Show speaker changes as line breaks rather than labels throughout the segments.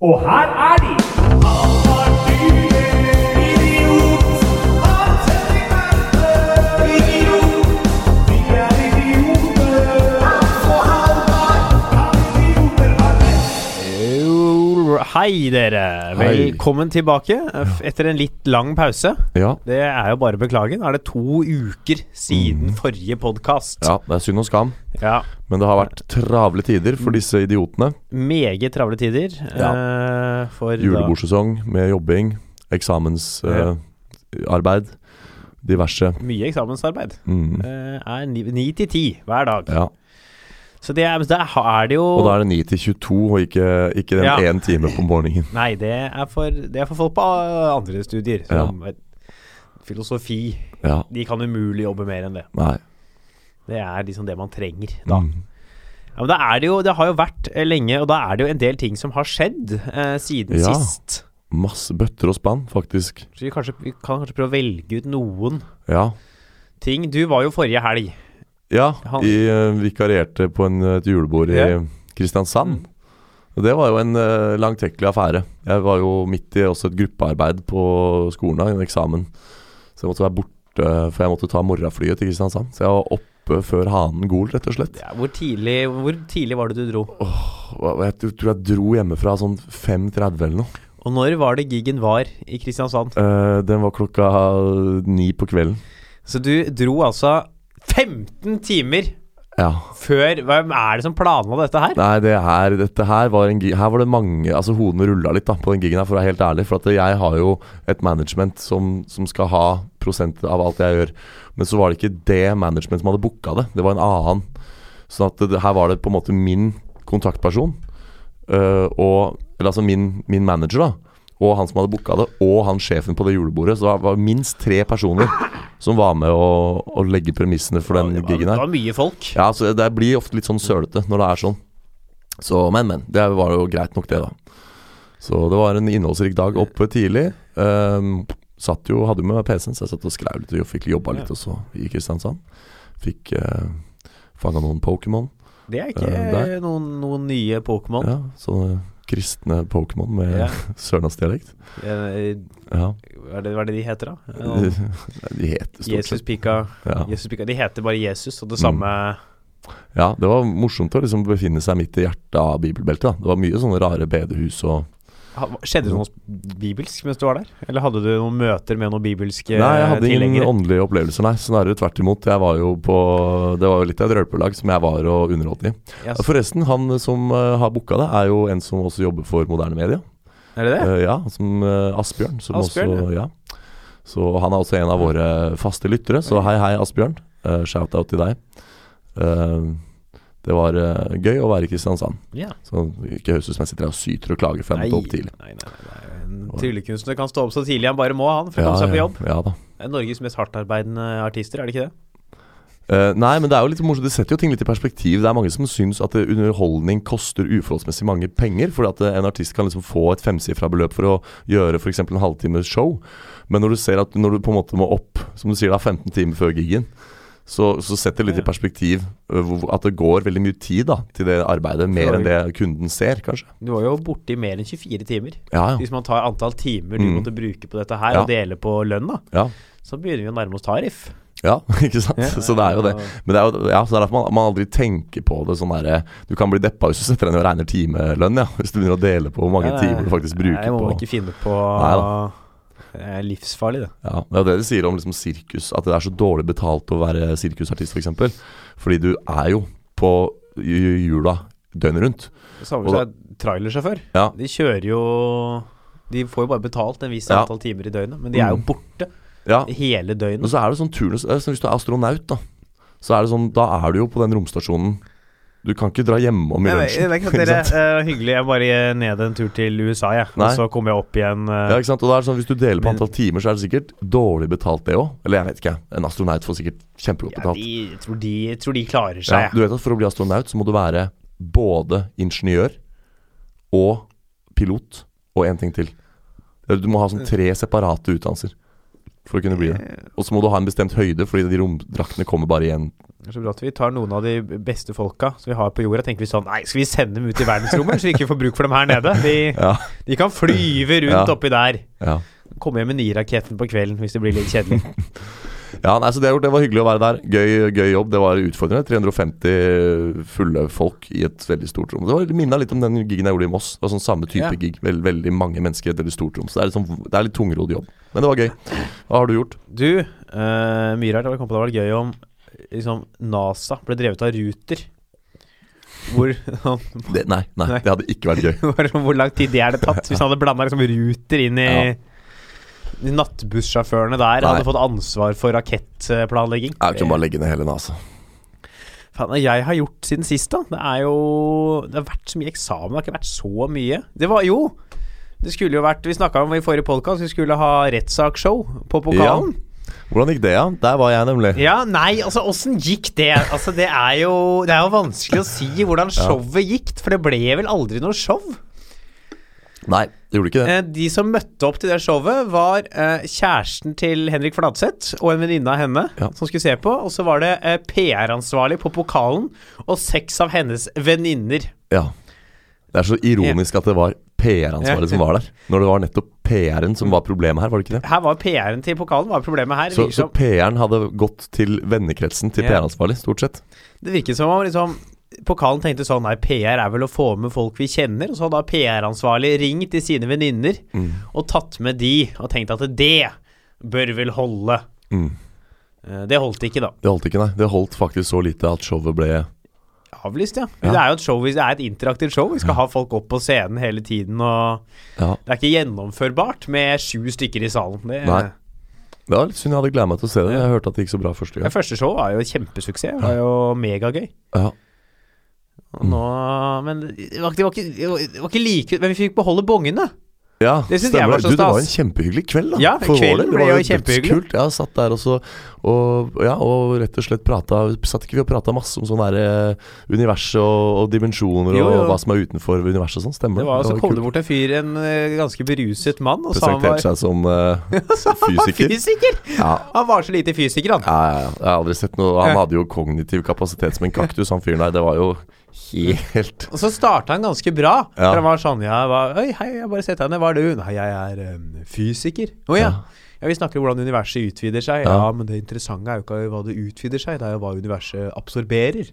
Og her er de! Hei, dere.
Hei.
Velkommen tilbake f- etter en litt lang pause.
Ja.
Det er jo bare å beklage. Nå er det to uker siden forrige podkast.
Mhm. ja, det er synd og skam,
Ja.
men det har vært travle tider for disse idiotene.
Meget travle tider. eh, for da-
Julebordsesong med jobbing,
Ja.
eksamensarbeid, diverse.
Mye eksamensarbeid.
Mm.
Eh, er ni ni til ti hver dag.
Ja.
Så det er, da er det jo
Og da er det 9 til 22, og ikke, ikke den
Ja.
én time på morgenen.
Nei, det er, for, det er for folk på eh, andre studier. Som eh, filosofi.
Ja,
De kan umulig jobbe mer enn det.
nei. Mm.
Det er liksom det man trenger.
Da.
Ja, men da er det, jo, det har jo vært eh, lenge, og da er det jo en del ting som har skjedd eh, siden
Ja.
sist.
Masse bøtter og spann, faktisk.
Så vi, kanskje, vi kan kanskje prøve å velge ut noen
Ja.
ting. Du var jo forrige helg.
Ja,
Han-
vi eh, vikarierte på en, eh, et julebord i
Ja.
Kristiansand. Og det var jo en eh, langtekkelig affære. Jeg var jo midt i også et gruppearbeid på skolen, da, en eksamen. Så jeg måtte være borte, for jeg måtte ta morgenflyet til Kristiansand. Så jeg var oppe før hanen gol, rett og slett.
Ja, hvor, tidlig, hvor tidlig var det du dro?
Og jeg tro- tror jeg dro hjemmefra sånn 5.30 eller noe.
Og når var det gigen var i Kristiansand?
Eh, den var klokka ni på kvelden.
Så du dro altså 15 timer
Ja.
før Hvem er det som planla dette her?
Nei, det her, dette her var en gig Her var det mange Altså, hodene rulla litt da på den gigen her, for å være helt ærlig. For at jeg har jo et management som, som skal ha prosent av alt jeg gjør. Men så var det ikke det management som hadde booka det, det var en annen. Sånn at det, her var det på en måte min kontaktperson, øh, og Eller altså min, min manager, da. Og han som hadde booka det, og han sjefen på det julebordet. Så det var minst tre personer som var med å, å legge premissene for den
det, var,
gigen her.
det var mye folk.
Ja, så det blir ofte litt sånn sølete når det er sånn. Så, men, men. Det var jo greit nok, det, da. Så det var en innholdsrik dag oppe tidlig. Ehm, satt jo, hadde jo med meg PC-en, så jeg satt og skrev litt og fikk jobba litt og så i Kristiansand. Fikk uh, fanga noen Pokémon.
Det er ikke
Eh, der.
noen, noen nye Pokémon.
Ja, sånne kristne Pokémon med
Sånn. Ja.
sørlandsdialekt.
Eh,
Ja.
Hva er, det, hva er det de heter, da?
De
Eh,
de heter stort
Jesus
sett
Pika,
ja. Mm.
Jesus Pika. De heter bare Jesus, og det samme
ja, det var morsomt å liksom befinne seg midt i hjertet av bibelbeltet. da Det var mye sånne rare bedehus og
Ha- Skjedde det noe bibelsk mens du var der? Eller hadde du noen møter med noen bibelske
Nei, jeg hadde ingen
tilhengere?
åndelige opplevelser, nei. Snarere tvert imot. Jeg var jo på Det var jo litt av et rølpelag som jeg var og underholdt i.
Ja, så-
Forresten, han som eh, har booka det, er jo en som også jobber for moderne media.
Er det det?
Eh, ja, som eh, Asbjørn. Som
Asbjørn,
også, ja. Så han er også en av våre faste lyttere. Så hei, hei, Asbjørn. Eh, Shout-out til deg. Eh, det var eh, gøy å være i Kristiansand.
Ja.
Så ikke høres ut som jeg sitter her og syter og klager for jeg måtte opp tidlig.
nei, nei, nei, nei. En tryllekunstner kan stå opp så tidlig han bare må, han, for å komme seg på
ja,
jobb.
ja da.
Det er Norges mest hardtarbeidende artister, er det ikke det?
Eh, nei, men det er jo litt morsomt Det setter jo ting litt i perspektiv. Det er mange som syns at eh, underholdning koster uforholdsmessig mange penger. Fordi at eh, en artist kan liksom få et femsifra beløp for å gjøre f.eks. en halvtimes show. Men når du ser at når du på en måte må opp, som du sier, da 15 timer før gigen, så, så setter det litt i perspektiv eh, hvor- at det går veldig mye tid da til det arbeidet. Mer enn det kunden ser, kanskje.
Du var jo borte i mer enn 24 timer.
Ja, ja.
Hvis man tar antall timer du
Mm.
måtte bruke på dette her,
Ja.
og dele på lønna,
ja.
så begynner vi å nærme oss tariff.
Ja, ikke sant?
Ja.
så det er jo det. Men det er jo ja, så det er derfor man, man aldri tenker på det sånn derre Du kan bli deppa hvis du setter deg ned og regner timelønn, ja. Hvis du begynner å dele på hvor mange
Nei, nei,
timer du faktisk
nei, Jeg
bruker
må
på
ikke finne på
Nei
Det er livsfarlig, det.
ja, Det er jo det de sier om liksom sirkus, at det er så dårlig betalt å være sirkusartist, f.eks. eksempel Fordi du er jo på ju- jula døgnet rundt.
Det samme
Og da-
som er trailersjåfør.
Ja.
De kjører jo De får jo bare betalt en viss
Ja.
antall timer i døgnet, men de er jo
Mm.
borte
ja.
hele
Og
døgnet.
så er det sånn turnus eh, så Hvis du er astronaut, da, så er det sånn Da er du jo på den romstasjonen. Du kan ikke dra hjemom i
Nei,
lunsjen.
nei, ikke sant, dere, eh, hyggelig. Jeg bare eh, ned en tur til USA, jeg.
Nei.
Og så kommer jeg opp igjen. eh,
Ja, ikke sant? Og det er sånn, Hvis du deler på
Men-
antall timer, så er det sikkert dårlig betalt, det òg. Eller jeg vet ikke. En astronaut får sikkert kjempegodt
ja,
betalt.
de, jeg tror de, jeg tror de klarer
Ja,
seg,
du vet at For å bli astronaut så må du være både ingeniør og pilot og én ting til. Du må ha sånn tre separate utdannelser. for å kunne bli det.
Eh,
Og så må du ha en bestemt høyde, fordi de romdraktene kommer bare igjen.
Det er så bra at vi tar noen av de beste folka som vi har på jorda. Tenker vi sånn Nei, skal vi sende dem ut i verdensrommet, så vi ikke får bruk for dem her nede? De,
Ja.
de kan flyve rundt
Ja.
oppi der.
Ja,
Komme hjem med nyraketten på kvelden hvis det blir litt kjedelig.
ja nei, så det, har jeg gjort. det var hyggelig å være der. Gøy, gøy jobb. Det var utfordrende. 350 fulle folk i et veldig stort rom. Det var- Det minna litt om den gigen jeg gjorde i Moss. Det var sånn Samme
Ja.
type gig. Vel- veldig mange mennesker i et veldig stort rom. Så det er litt, sånn, det er litt tungrodd jobb. Men det var gøy. Hva har du gjort?
Du, uh, mye rart. Jeg kom på det var gøy om liksom, NASA ble drevet av ruter. Hvor,
Det, nei, nei,
Nei.
det hadde ikke vært gøy.
hvor- hvor lang tid det er det tatt? Hvis han hadde blanda liksom, ruter inn i
Ja.
de Nattbussjåførene der
Nei.
hadde fått ansvar for rakettplanlegging.
Jeg kunne bare legge ned hele NASA.
Faen, hva jeg har gjort siden sist, da. Det er jo Det har vært så mye eksamen, det har ikke vært så mye. Det var jo Det skulle jo vært Vi snakka om i forrige podkast, vi skulle ha rettssakshow på pokalen.
Hvordan gikk det, ja? Der var jeg nemlig.
Ja, nei, altså åssen gikk det? Altså Det er jo Det er jo vanskelig å si hvordan showet gikk, for det ble vel aldri noe show.
Nei, det gjorde ikke det.
Eh, de som møtte opp til det showet, var eh, kjæresten til Henrik Fladseth og en venninne av henne
Ja.
som skulle se på, og så var det eh, PR-ansvarlig på pokalen og seks av hennes venninner.
Ja. Det er så ironisk at det var PR-ansvaret som var der. Når det var nettopp PR-en som var problemet her, var det ikke det?
Her var PR-en til pokalen var problemet her. Det
Så,
virker
så
som,
PR-en hadde gått til vennekretsen til
Liksom. Ja.
PR-ansvarlig, stort sett.
det virket som om liksom Pokalen tenkte sånn Nei, PR er vel å få med folk vi kjenner. Og så hadde da PR-ansvarlig ringt til sine venninner
Mm.
og tatt med de og tenkt at det bør vel holde.
Mm.
Eh, Det holdt ikke, da.
Det holdt ikke, nei. Det holdt faktisk så lite at showet ble
Avlyst, ja.
Ja.
Det er jo et show, det er et interaktivt show. Vi skal ha folk opp på scenen hele tiden, og
Ja.
det er ikke gjennomførbart med sju stykker i salen. Det,
Nei. Det var litt synd jeg hadde gleda meg til å se det. Jeg hørte at det gikk så bra første
Det
gang.
første showet var jo et kjempesuksess. Det var jo megagøy.
Ja.
Og
Mm.
Nå, men det var, ikke- det, var ikke, det var ikke like Men vi fikk beholde bongene.
Ja,
Det synes jeg
stemmer
var så
Du, det var en
stas.
kjempehyggelig kveld, da.
Ja,
vår
kvelden
del.
ble
det var
jo kjempehyggelig.
dødskult. Jeg satt der og så og, ja, og rett og slett prata Satt ikke vi og prata masse om sånn derre universet og, og dimensjoner
Jo, jo.
og hva som er utenfor universet og sånn? Stemmer
Det var, så kom
kult.
det bort en fyr, en eh, ganske beruset mann, og sa han var
Presenterte seg som eh, fysiker.
fysiker.
ja.
Han var så lite fysiker, han.
Ja, ja, ja. Jeg har aldri sett noe Han hadde jo kognitiv kapasitet som en kaktus, han fyren der. Det var jo helt
Og så starta han ganske bra.
Ja.
For han var sånn ja, hva, Oi, hei, jeg bare setter deg ned. Hva er du? Nei, jeg er em, fysiker. Å ja. ja. Vi snakker om hvordan universet utvider seg. Ja.
Ja.
men det interessante er jo ikke hva det utvider seg, det er jo hva universet absorberer.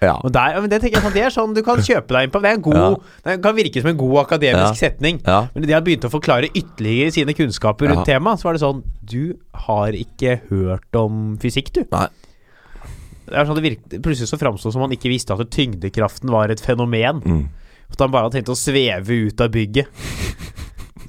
Ja.
Og der, ja, men Det tenker jeg sånn, det er sånn du kan kjøpe deg inn på. Det er en god, det kan virke som en god akademisk
Ja.
setning.
ja.
Men da de begynte å forklare ytterligere sine kunnskaper rundt
Ja.
temaet, så var det sånn Du har ikke hørt om fysikk, du.
Nei.
Det er sånn det virket, Plutselig så framsto det som om han ikke visste at tyngdekraften var et fenomen.
Mm.
At han bare hadde tenkt å sveve ut av bygget.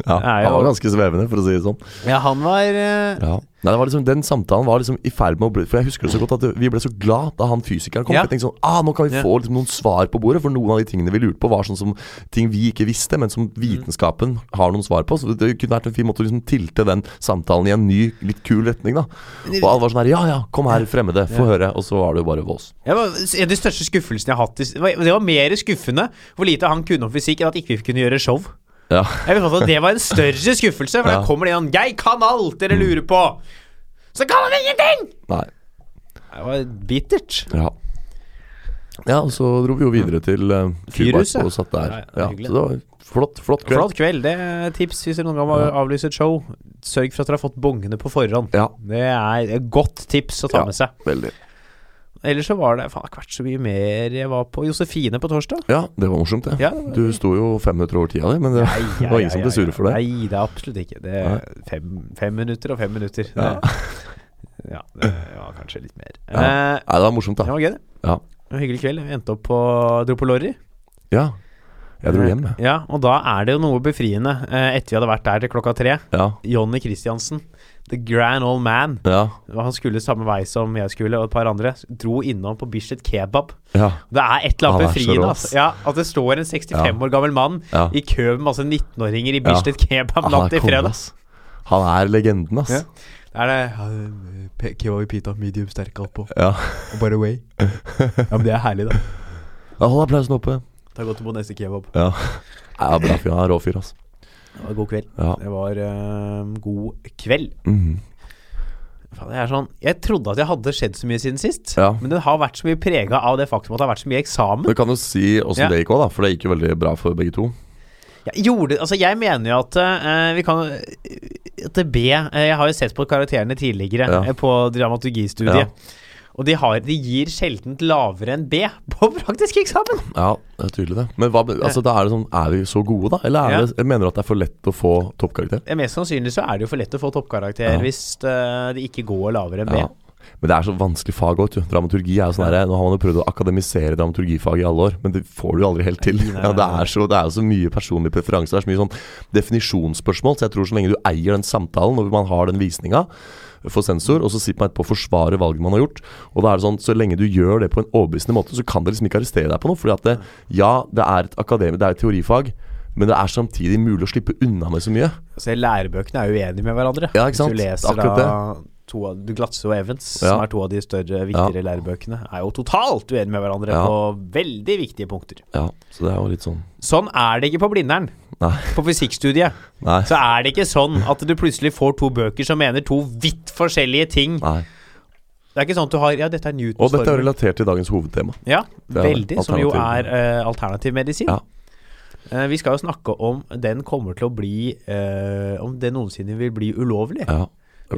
ja.
Det er jo-
Han var ganske svevende, for å si det sånn.
Ja, han var eh,
Ja. Nei, det var liksom, den samtalen var liksom i ferd med å bli For jeg husker det så godt at vi ble så glad da han fysikeren kom.
Ja.
Jeg tenkte sånn, ah, Nå kan vi
Ja.
få liksom noen svar på bordet, for noen av de tingene vi lurte på, var sånn som ting vi ikke visste, men som vitenskapen har noen svar på. Så det kunne vært en fin måte å liksom tilte den samtalen i en ny, litt kul retning. da Og alle var sånn her Ja ja, kom her, fremmede, få høre. Og så var det jo bare vås.
jeg var, En av de største skuffelsene jeg har hatt. i- Det var, det var mer skuffende hvor lite han kunne om fysikk, enn at ikke vi kunne gjøre show.
Ja.
Jeg vil påstå at Det var en større skuffelse, for
Ja.
da kommer det en sånn, 'Jeg kan alt dere lurer på', så kan han ingenting!
Nei.
Det var bittert.
Ja. Ja, og så dro vi jo videre til eh, Cuba
Fyrhuset.
og satt der.
Ja, ja,
Ja,
hyggelig.
så det var flott, flott kveld.
Flott kveld. Det er tips hvis dere noen gang har avlyst et show. Sørg for at dere har fått bongene på forhånd.
Ja,
Det er et godt tips å ta
Ja.
med seg.
veldig.
Ellers så var det Faen, det har ikke vært så mye mer jeg var på. Josefine på torsdag.
Ja, det var morsomt, det.
Ja, det var-
Du sto jo fem minutter over tida di, men det
Nei,
det var ingen som ble sure for det.
Nei, det er absolutt ikke. Det er fem, fem minutter og fem minutter. Det, ja, det var kanskje litt mer. Eh,
Nei, det var morsomt,
det
da.
var gøy, det.
Ja.
Det var en hyggelig kveld. Vi endte opp på dro på Lorry.
Ja. Jeg dro hjem, jeg.
Ja, og da er det jo noe befriende eh, etter vi hadde vært der til klokka tre.
Ja.
Jonny Christiansen, the grand old man.
Ja.
Han skulle samme vei som jeg skulle, og et par andre. Dro innom på Bislett Kebab.
ja.
Det er et eller annet
Han er så
befriende.
rå,
Altså. Ja, at det står en 65 år gammel mann
Ja.
i kø med masse 19-åringer i
Ja.
Bislett Kebab
Han
natt til
er konge,
fredag.
ass. Han er legenden, ass.
Ja. Det eh, er det Kebab i pita, medium sterk alt på.
Ja.
Og by the way. Ja, men det er herlig, da.
ja. Hold applausen oppe.
Ta godt imot neste kebab.
Ja. Ja, bra fyr. Han er rå fyr, ass.
Det var god kveld.
Ja.
Det var eh, god kveld.
Mhm.
Faen, jeg, er sånn, jeg trodde at jeg hadde skjedd så mye siden sist,
Ja.
men den har vært så mye prega av det faktum at det har vært så mye eksamen.
Du kan jo si åssen
Ja.
det gikk òg, da. For det gikk jo veldig bra for begge to.
Jeg, gjorde, altså jeg mener jo at eh, vi kan At B eh, Jeg har jo sett på karakterene tidligere
Ja.
eh, på dramaturgistudiet. Og de, har, de gir sjelden lavere enn B på praktisk eksamen!
Ja, det er tydelig det. Men hva, altså, da er det sånn Er vi så gode, da? Eller er
Ja.
det, jeg mener du at det er for lett å få toppkarakter?
Eh, Mest sannsynlig så er det jo for lett å få toppkarakter
Ja.
hvis eh, de ikke går lavere enn B.
Ja. Men det er så vanskelig fag òg, vet du. Dramaturgi er jo sånn
Ja.
herre Nå har man jo prøvd å akademisere dramaturgifaget i alle år, men det får du jo aldri helt til.
Nei, nei,
Ja, det,
nei.
er så, det er jo så mye personlige preferanser, det er så mye sånn definisjonsspørsmål. Så jeg tror så lenge du eier den samtalen når man har den visninga for sensor, og så sitter man etterpå og forsvarer valget man har gjort, og da er det sånn så lenge du gjør det på en overbevisende måte, så kan det liksom ikke arrestere deg på noe. Fordi at det, ja, det er et akademi, det er et teorifag, men det er samtidig mulig å slippe unna med så mye.
Så lærebøkene er jo uenige med hverandre.
Ja, ikke sant?
Hvis du leser
Akkurat
da to av du Glatse og Evans,
Ja.
som er to av de større, viktigere lærebøkene, er jo totalt uenige med hverandre
Ja.
på veldig viktige punkter.
Ja, så det er jo litt sånn
Sånn er det ikke på Blindern.
Nei.
På fysikkstudiet
Nei.
så er det ikke sånn at du plutselig får to bøker som mener to vidt forskjellige ting.
Nei.
Det er ikke sånn at du har Ja, dette er Newtons
Og dette er
formel.
relatert til dagens hovedtema.
Ja,
Det er
veldig, som jo er eh, alternativ medisin.
Ja.
Eh, vi skal jo snakke om den kommer til å bli eh, Om det noensinne vil bli ulovlig.
Ja, det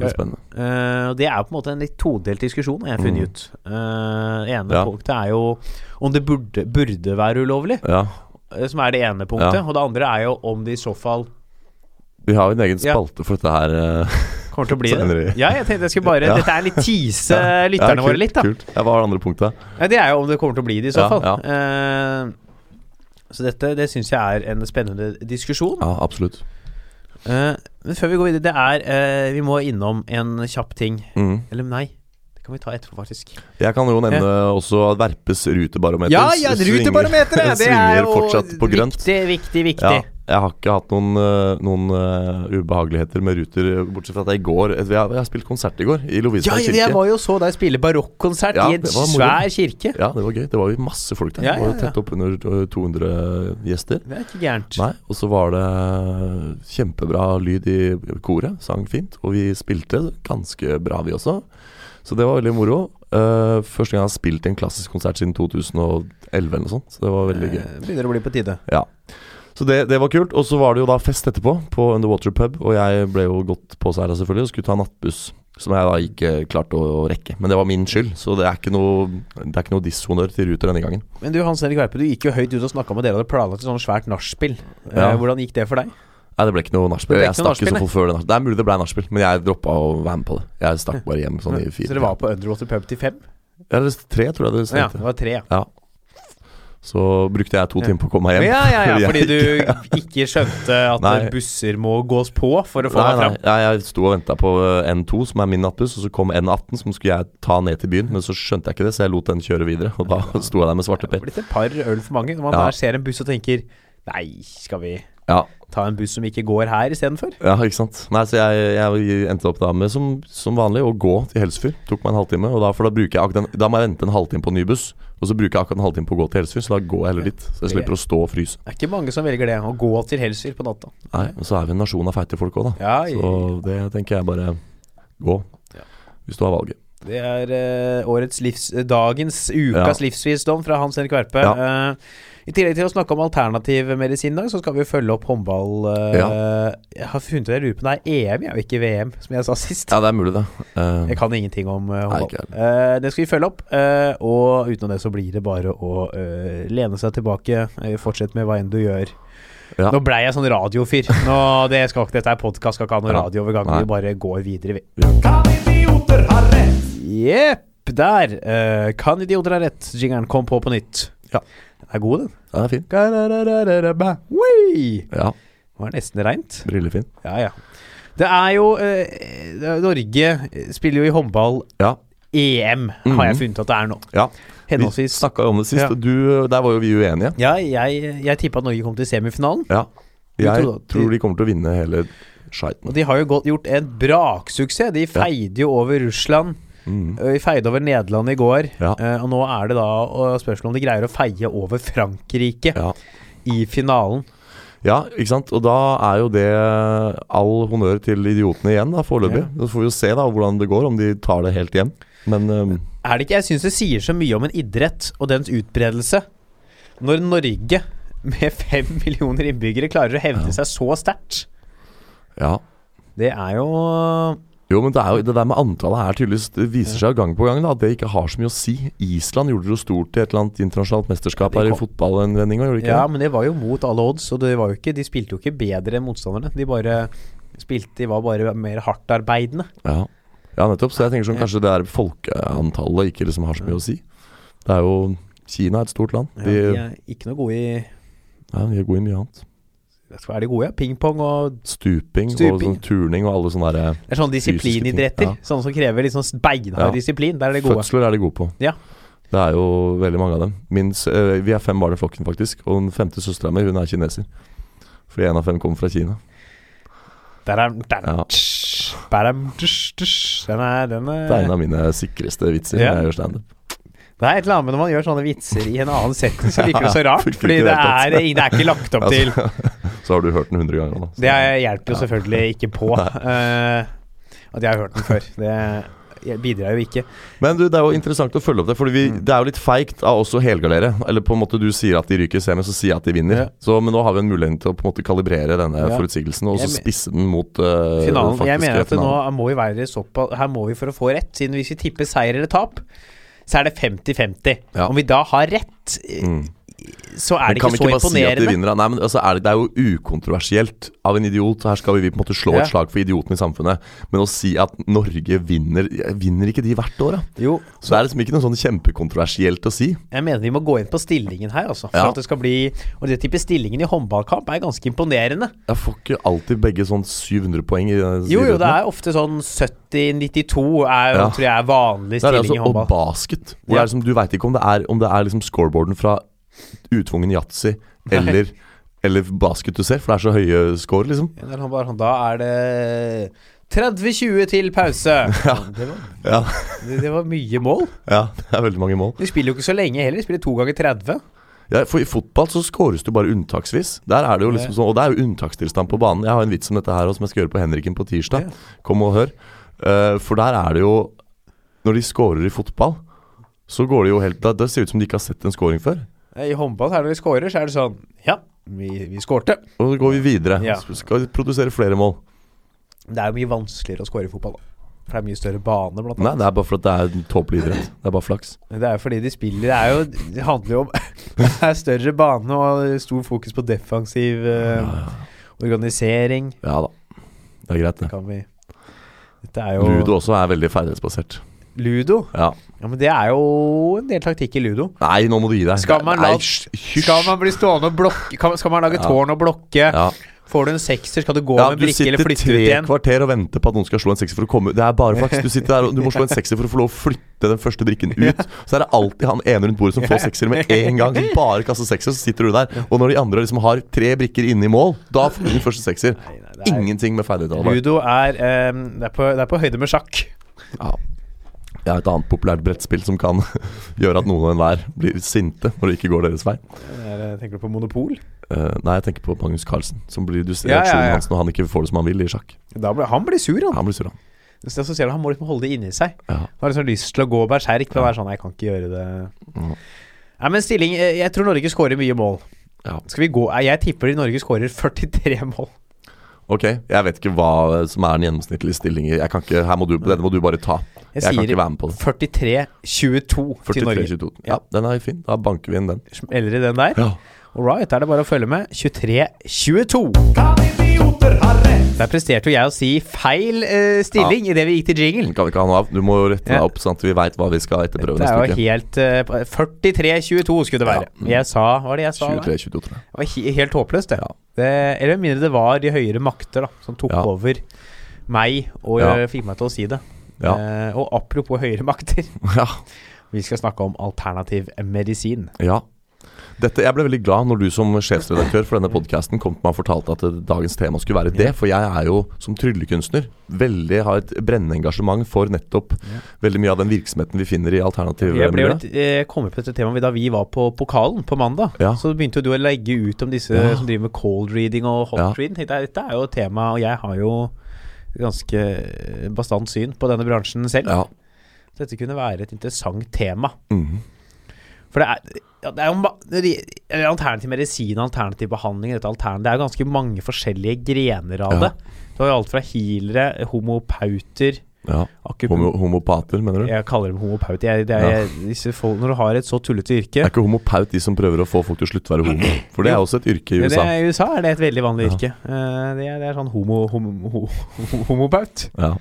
Ja.
blir spennende.
Eh, og det er jo på en måte en litt todelt diskusjon, har jeg funnet
Mm.
ut. Eh, det ene
Ja.
punktet er jo om det burde, burde være ulovlig,
Ja.
eh, som er det ene punktet.
Ja.
Og det andre er jo om det i så fall
Vi har jo en egen
Ja.
spalte for dette her. eh,
kommer til å bli det.
Senere.
Ja, jeg tenkte jeg skulle bare
Ja.
Dette er litt tease
Ja.
lytterne
Ja, kult,
våre litt, da.
Kult. Ja, hva var det andre punktet?
Nei, det er jo om det kommer til å bli det, i så
Ja,
fall.
ja.
Eh, så dette det syns jeg er en spennende diskusjon.
Ja, absolutt.
Eh, men før vi går videre, det er eh, Vi må innom en kjapp ting.
Mm.
Eller nei. Det kan vi ta etterpå, faktisk.
Jeg kan jo nevne også at Verpes rutebarometer.
Ja, ja,
svinger-
rutebarometeret! Det er
svinger
jo
fortsatt på grønt.
viktig, viktig, viktig.
Ja, jeg har ikke hatt noen, eh, noen eh, ubehageligheter med ruter, eh, bortsett fra at jeg i går Jeg, jeg, jeg spilte konsert i går, i
Ja,
Lovisenberg
jeg,
kirke.
jeg var jo så deg spille barokkonsert
Ja,
i en
det var moro.
svær kirke.
Ja, det var gøy. Det var jo masse folk der.
Ja,
Det var jo
ja, ja.
tett oppunder eh, 200 gjester.
Det er ikke gærent.
Nei, og så var det kjempebra lyd i koret, sang fint, og vi spilte ganske bra vi også. Så det var veldig moro. Eh, første gang jeg har spilt i en klassisk konsert siden 2011 eller noe sånt, så det var veldig gøy.
Eh, Begynner å bli på tide.
Ja. Så det, det var kult. Og så var det jo da fest etterpå, på Underwater pub, og jeg ble jo godt påseila selvfølgelig, og skulle ta nattbuss. Som jeg da ikke klarte å, å rekke. Men det var min skyld, så det er ikke noe, det er ikke noe dishonør til Ruter denne gangen.
Men du Hans Henrik Verpe, du gikk jo høyt ut og snakka om at dere hadde planlagt et sånt svært nachspiel. Eh,
Ja.
Hvordan gikk det for deg?
Nei, det ble ikke noe nachspiel.
Det ble
Jeg
ikke noe
stakk i så
nachspiel,
fall før det. nach- Det er mulig det ble nachspiel, men jeg droppa å være med på det. Jeg stakk bare hjem sånn i fire.
Så dere var på Underwater pub til fem?
Ja, Eller tre, tror jeg det
Ja,
stengte.
det var tre, ja.
Så brukte jeg to
Ja.
timer på å komme meg hjem.
Ja, ja, ja,
Jeg
fordi du ikke skjønte at
Nei.
busser må gås på for å få
Nei,
deg
nei,
fram.
nei, jeg sto og venta på eh, N2, som er min nattbuss, og så kom N18, som skulle jeg ta ned til byen, men så skjønte jeg ikke det, så jeg lot den kjøre videre. Og da sto jeg der med svarte
Det er
per.
blitt et par øl for mange når man
Ja.
der ser en buss og tenker Nei, skal vi
Ja,
ta en buss som ikke går her istedenfor?
ja, ikke sant. Nei, så jeg, jeg endte opp da med, som, som vanlig, å gå til Helsfyr. Tok meg en halvtime, og da, for da, bruker jeg akkurat den, da må jeg vente en halvtime på ny buss, og så bruker jeg akkurat en halvtime på å gå til Helsfyr, så da går jeg heller dit. Så jeg slipper å stå og fryse.
Det er ikke mange som velger det, å gå til Helsfyr på natta.
Nei, men så er vi en nasjon av feite folk òg, da.
Ja,
Så det tenker jeg bare gå,
Ja.
hvis du har valget.
Det er eh, årets livs, eh, dagens, ukas livsvisdom fra Hans Erik Verpe. Eh, I tillegg til å snakke om alternativ medisin i dag, så skal vi jo følge opp håndball. eh, Jeg har funnet ut, jeg lurer på om det er EM, ja, og ikke VM, som jeg sa sist.
Ja, det er mulig, det. Eh,
Jeg kan ingenting om eh, håndball.
ikke jeg
Eh, det skal vi følge opp. eh, og utenom det så blir det bare å eh, lene seg tilbake. eh, Fortsett med hva enn du gjør.
Ja.
Nå blei jeg sånn radiofyr. Nå, det skal ikke, dette er podkast, skal ikke ha noen
Ja.
radioovergang.
Nei.
Vi bare går videre, vi.
Kan idioter ha rett?
Jepp, der! eh, kan idioter ha rett? Jingeren kom på på nytt.
Ja.
Den er god, den.
ja, det er fint.
Garararararabæ. Wei!
Ja,
Det var nesten reint.
brillefin.
Ja, ja. Det er jo eh, det- Norge spiller jo i håndball
Ja.
EM, har
Mhm.
jeg funnet at det er nå.
Ja. Vi
Henholdsvis
snakka jo om det sist,
Ja.
og du, der var jo vi uenige.
Ja, jeg, jeg tippa at Norge kom til semifinalen.
Ja.
Vi
Jeg
trodde at de-
tror de kommer til å vinne hele
Og
skiten.
de har jo gått, gjort en braksuksess. De feide jo over Russland.
Mm.
ø, De feide over Nederland i går.
Ja.
eh, Og nå er det da ø, spørsmål om de greier å feie over Frankrike
Ja.
i finalen.
Ja, ikke sant? Og da er jo det all honnør til idiotene igjen, da, foreløpig. Så får vi jo se da hvordan det går, om de tar det helt hjem. Men øhm,
Er det ikke Jeg syns det sier så mye om en idrett og dens utbredelse når Norge med fem millioner innbyggere klarer å hevde seg så sterkt.
ja.
Det er jo
Jo, men det, er jo, det der med antallet her tydeligvis Det viser seg gang på gang da, at det ikke har så mye å si. Island gjorde det jo stort i et eller annet internasjonalt mesterskap
Ja, de
her i
kom-
fotballenvendinga, gjorde de ikke
Ja,
det?
men det var jo mot alle odds, og det var jo ikke, de spilte jo ikke bedre enn motstanderne. De bare spilte De var bare mer hardtarbeidende.
Ja. ja, nettopp. Så jeg tenker sånn kanskje det der folkeantallet ikke liksom har så mye å si. Det er jo Kina er et stort land.
Ja,
De,
de
ja,
er ikke noe gode i
de er gode i mye annet.
vet du hva er de gode i? Pingpong og
Stuping, og
Stuping.
sånn turning og alle sånne derre
Det er sånne
Fysiske ting,
disiplinidretter.
ja.
Sånne som krever liksom beinhard
Ja.
disiplin. Der er det gode.
Fødsler er de gode på.
Ja.
Det er jo veldig mange av dem. Min, s- eh, vi er fem barn i flokken, faktisk. Og den femte søstera mi, hun er kineser. Fordi én av fem kommer fra Kina.
Dadam, dadam,
Ja.
tsh, badam, tsh, tsh. Den er, den
Det er en
er
av mine sikreste vitser
Ja.
når jeg gjør standup.
Det er et eller annet med når man gjør sånne vitser i en annen setting, så virker det så rart.
funker
Fordi
ikke i
det
det hele Altså,
er, det er ikke lagt opp til.
Så har du hørt den hundre ganger nå. så-
Det hjelper jo selvfølgelig ikke på eh, at jeg har hørt den før. Det bidrar jo ikke.
Men du, det er jo interessant å følge opp det. Fordi vi,
Mm.
det er jo litt feigt av oss å helgardere. Eller på en måte du sier at de ryker i semi, så sier jeg at de vinner.
Ja.
Så, men nå har vi en mulighet til å på en måte kalibrere denne
Ja.
forutsigelsen og så
Jeg me-
spisse den mot uh,
Finalen, jeg mener at det nå må vi være såpass Her må vi for å få rett, siden hvis vi tipper seier eller tap, så er det 50-50.
Ja.
Om vi da har rett, eh,
Mm.
så er det ikke så
Men Kan vi ikke bare si at de
imponerende.
vinner? da? Nei, men altså, er det, det er jo ukontroversielt av en idiot. Her skal vi, vi på en måte slå
Ja.
et slag for idioten i samfunnet. Men å si at Norge vinner Vinner ikke de hvert år, da?
Jo,
Så det er liksom ikke noe sånn kjempekontroversielt å si.
Jeg mener vi må gå inn på stillingen her, altså. For
Ja.
at det skal bli Og det type stillingen i håndballkamp er ganske imponerende.
Jeg får ikke alltid begge sånn 700 poeng i eh, denne
Jo, jo,
idretten,
det
da.
er ofte sånn 70-92 er,
Ja.
tror jeg er vanlig
Det er
stilling
altså,
i
og
håndball.
basket. Hvor det
Ja.
er liksom, du veit ikke om det er, om det er liksom scoreboarden fra utvungen yatzy eller, eller basket du ser, for det er så høye score, liksom.
Ja, det er håndball, Da er det 30-20 til pause. Det, var,
Ja.
det, det var mye mål.
ja, det er veldig mange mål.
De spiller jo ikke så lenge heller. De spiller to ganger 30.
Ja, for I fotball så skåres det jo bare unntaksvis. Der er det jo liksom sånn, Og det er jo unntakstilstand på banen. Jeg har en vits om dette her også, som jeg skal gjøre på Henriken på tirsdag.
Ja.
Kom og hør. Eh, for der er det jo Når de skårer i fotball, så går det jo helt da, Det ser ut som de ikke har sett en scoring før.
I håndball, her når vi scorer, så er det sånn Ja, vi, vi skårte.
Og så går vi videre.
Ja.
Så skal vi produsere flere mål.
Det er jo mye vanskeligere å score i fotball, da. For det er mye større bane, blant
Nei, det er bare fordi det er en tåpelig idrett. Det er bare flaks.
Det er jo fordi de spiller Det, er jo, det handler jo om Det er større bane og stor fokus på defensiv eh, organisering.
Ja da. Det er greit,
Det
det.
kan vi Dette er jo
Ludo også er veldig ferdighetsbasert.
Ludo?
Ja.
Ja, men det er jo en del taktikk i ludo.
Nei, nå må du gi deg.
Skal man
Nei,
la-
hysj, hysj.
Skal man bli stående og blokke kan, Skal man lage
Ja.
tårn og blokke?
ja.
Får du en sekser, skal du gå
Ja,
med
du
brikke
sitter
eller flytte ut
tre
igjen?
kvarter og venter på at noen skal slå en sekser for å komme ut. Det er bare flaks. Du sitter der og du må slå en sekser for å få lov å flytte den første brikken ut. Så er det alltid han ene rundt bordet som får sekser med en gang. Som bare kaster sekser, så sitter du der. Og når de andre liksom har tre brikker inne i mål, da får du den første sekser.
nei, det er-
Ingenting med ferdighet. Albert.
Ludo er, eh, det er, på, det er på høyde med sjakk.
Ja. Jeg har et annet populært brettspill som kan gjøre at noen og enhver blir sinte når det ikke går deres vei.
Det er, eh, tenker du på monopol?
Eh, nei, jeg tenker på Magnus Carlsen. Som blir du ser
Ja, ja, ja.
reaksjonen hans når han ikke får det som han vil i sjakk.
Da blir, han blir sur, han.
Han blir sur, han.
Så jeg assosierer at Han må liksom holde det inni seg.
Ja.
Han har liksom lyst til å gå berserk, men det er sånn Jeg kan ikke gjøre det.
Ja.
Nei, men stilling eh, Jeg tror Norge skårer mye mål.
Ja.
Skal vi gå eh, Jeg tipper Norge skårer 43 mål.
Ok, jeg vet ikke hva som er den gjennomsnittlige stillingen. Jeg kan ikke, her må du, denne må du bare ta.
Jeg
Jeg, kan
sier
ikke være med på det.
43-22 til Norge.
43-22. Ja, den er fin. Da banker vi inn den.
Smeller i den der.
Ja.
All right, er det bare å følge med. 23-22.
Idioter har rett.
Der presterte jo jeg å si feil eh, stilling idet vi gikk til
Den
jingle.
kan vi ikke ha noe av. Du må rette
Ja.
deg opp, sånn at vi veit hva vi skal etterprøve
Det er jo
neste uke.
helt eh, på- 43-22 skulle det være.
mm.
Jeg sa Hva var det jeg sa? der?
23-22, tror jeg.
Det var he helt håpløst, det. det. Eller med mindre det var de høyere makter da, som tok
Ja.
over meg og
Ja.
eh, fikk meg til å si det.
Ja.
Eh, og apropos høyere makter,
Ja.
vi skal snakke om alternativ medisin.
ja. Dette, jeg ble veldig glad når du som sjefsredaktør for denne podcasten kom til meg og fortalte at eh, dagens tema skulle være det. For jeg er jo som tryllekunstner veldig har et brennende engasjement for nettopp veldig mye av den virksomheten vi finner i alternative
Jeg ble jo
miljøer.
litt, eh, kom jo på dette temaet da vi var på pokalen på mandag.
Ja.
Så begynte jo du å legge ut om disse
Ja.
som driver med cold reading og hot
Ja.
reading. Tenkte jeg, Dette er jo et tema, og jeg har jo ganske eh, bastant syn på denne bransjen selv.
Ja.
Dette kunne være et interessant tema.
Mhm.
For det er, ja, det er jo ma- re- eller alternativ medisin, alternativ behandling dette altern- Det er jo ganske mange forskjellige grener av
Ja.
det. Du har jo alt fra healere, homopauter
ja.
akupunk-
Homo homopater, mener du?
Jeg kaller dem homopauter. Jeg, det er,
Ja.
disse folk, når du har et så tullete yrke
Er ikke homopaut de som prøver å få folk til å slutte å være homo? For det er også et yrke i
Ja,
USA.
Det er, I USA er det et veldig vanlig
Ja.
yrke. Eh, det, er, det er sånn homo, homo, ho, ho- homopaut.
Ja,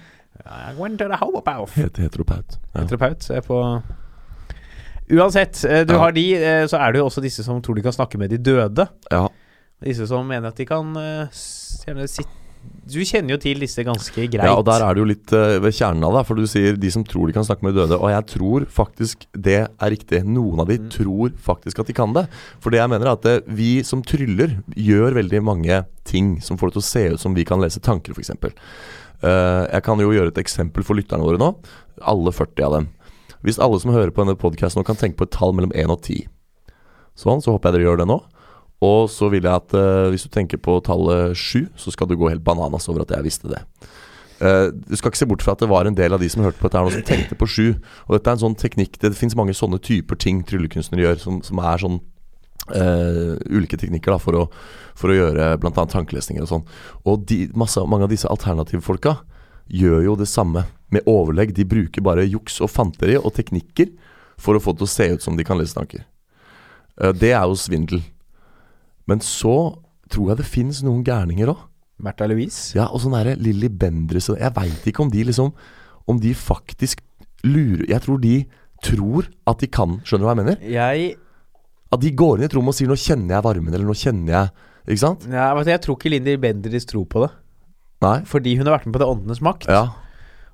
I went to the homopaut.
het heteropaut. Ja.
Terapeut er på Uansett, eh, du
Ja.
har de, eh, så er det jo også disse som tror de kan snakke med de døde.
ja.
Disse som mener at de kan eh, s- gjerne sitt- Du kjenner jo til disse ganske greit.
Ja, og der er det jo litt eh, ved kjernen av det. For du sier de som tror de kan snakke med døde. Og jeg tror faktisk det er riktig. Noen av de tror faktisk at de kan det. For det jeg mener er at eh, vi som tryller gjør veldig mange ting som får det til å se ut som vi kan lese tanker, f.eks. Uh, jeg kan jo gjøre et eksempel for lytterne våre nå. Alle 40 av dem. Hvis alle som hører på denne podkasten nå kan tenke på et tall mellom 1 og 10 Sånn, så håper jeg dere gjør det nå. Og så vil jeg at eh, hvis du tenker på tallet 7, så skal du gå helt bananas over at jeg visste det. Eh, du skal ikke se bort fra at det var en del av de som hørte på dette her nå, som tenkte på sju. Og dette er en sånn teknikk Det fins mange sånne typer ting tryllekunstnere gjør, som, som er sånn eh, ulike teknikker da for å, for å gjøre bl.a. tankelesninger og sånn. Og de, masse, mange av disse alternativfolka gjør jo det samme med overlegg. De bruker bare juks og fanteri og teknikker for å få det til å se ut som de kan lese tanker. Eh, det er jo svindel. Men så tror jeg det fins noen gærninger òg.
Märtha Louise.
Ja, og sånn derre Lilly Bendriss og Jeg veit ikke om de liksom Om de faktisk lurer Jeg tror de tror at de kan Skjønner du hva jeg mener?
Jeg,
At de går inn i et rom og sier 'nå kjenner jeg varmen', eller 'nå kjenner jeg Ikke sant?
Nei, vet du, jeg tror ikke Lindy Bendriss tror på det.
Nei.
Fordi hun har vært med på Det åndenes makt.
Ja.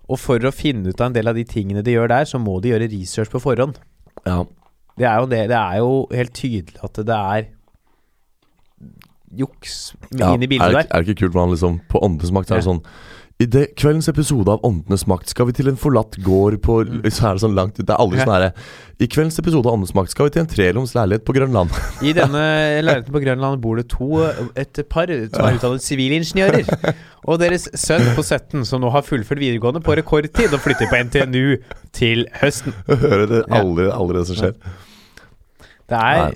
Og for å finne ut av en del av de tingene de gjør der, så må de gjøre research på forhånd.
Ja.
Det er jo, det, det er jo helt tydelig at det er juks
ja.
inn i
er,
bildet
det,
der.
ikke- er det ikke kult hvordan liksom På Åndenes makt så er det
Ja.
sånn I det, kveldens episode av Åndenes makt skal vi til en forlatt gård på Så er det sånn langt ut. Det er aldri
Mm. Ja.
sånn herre I kveldens episode av Åndenes makt skal vi til en treroms leilighet på Grønland.
I denne leiligheten på Grønland bor det to eh, et par som er utdannet sivilingeniører. Og deres sønn på 17, som nå har fullført videregående på rekordtid og flytter på NTNU til høsten.
Hører det
Ja.
aldri, aldri det som skjer.
Det er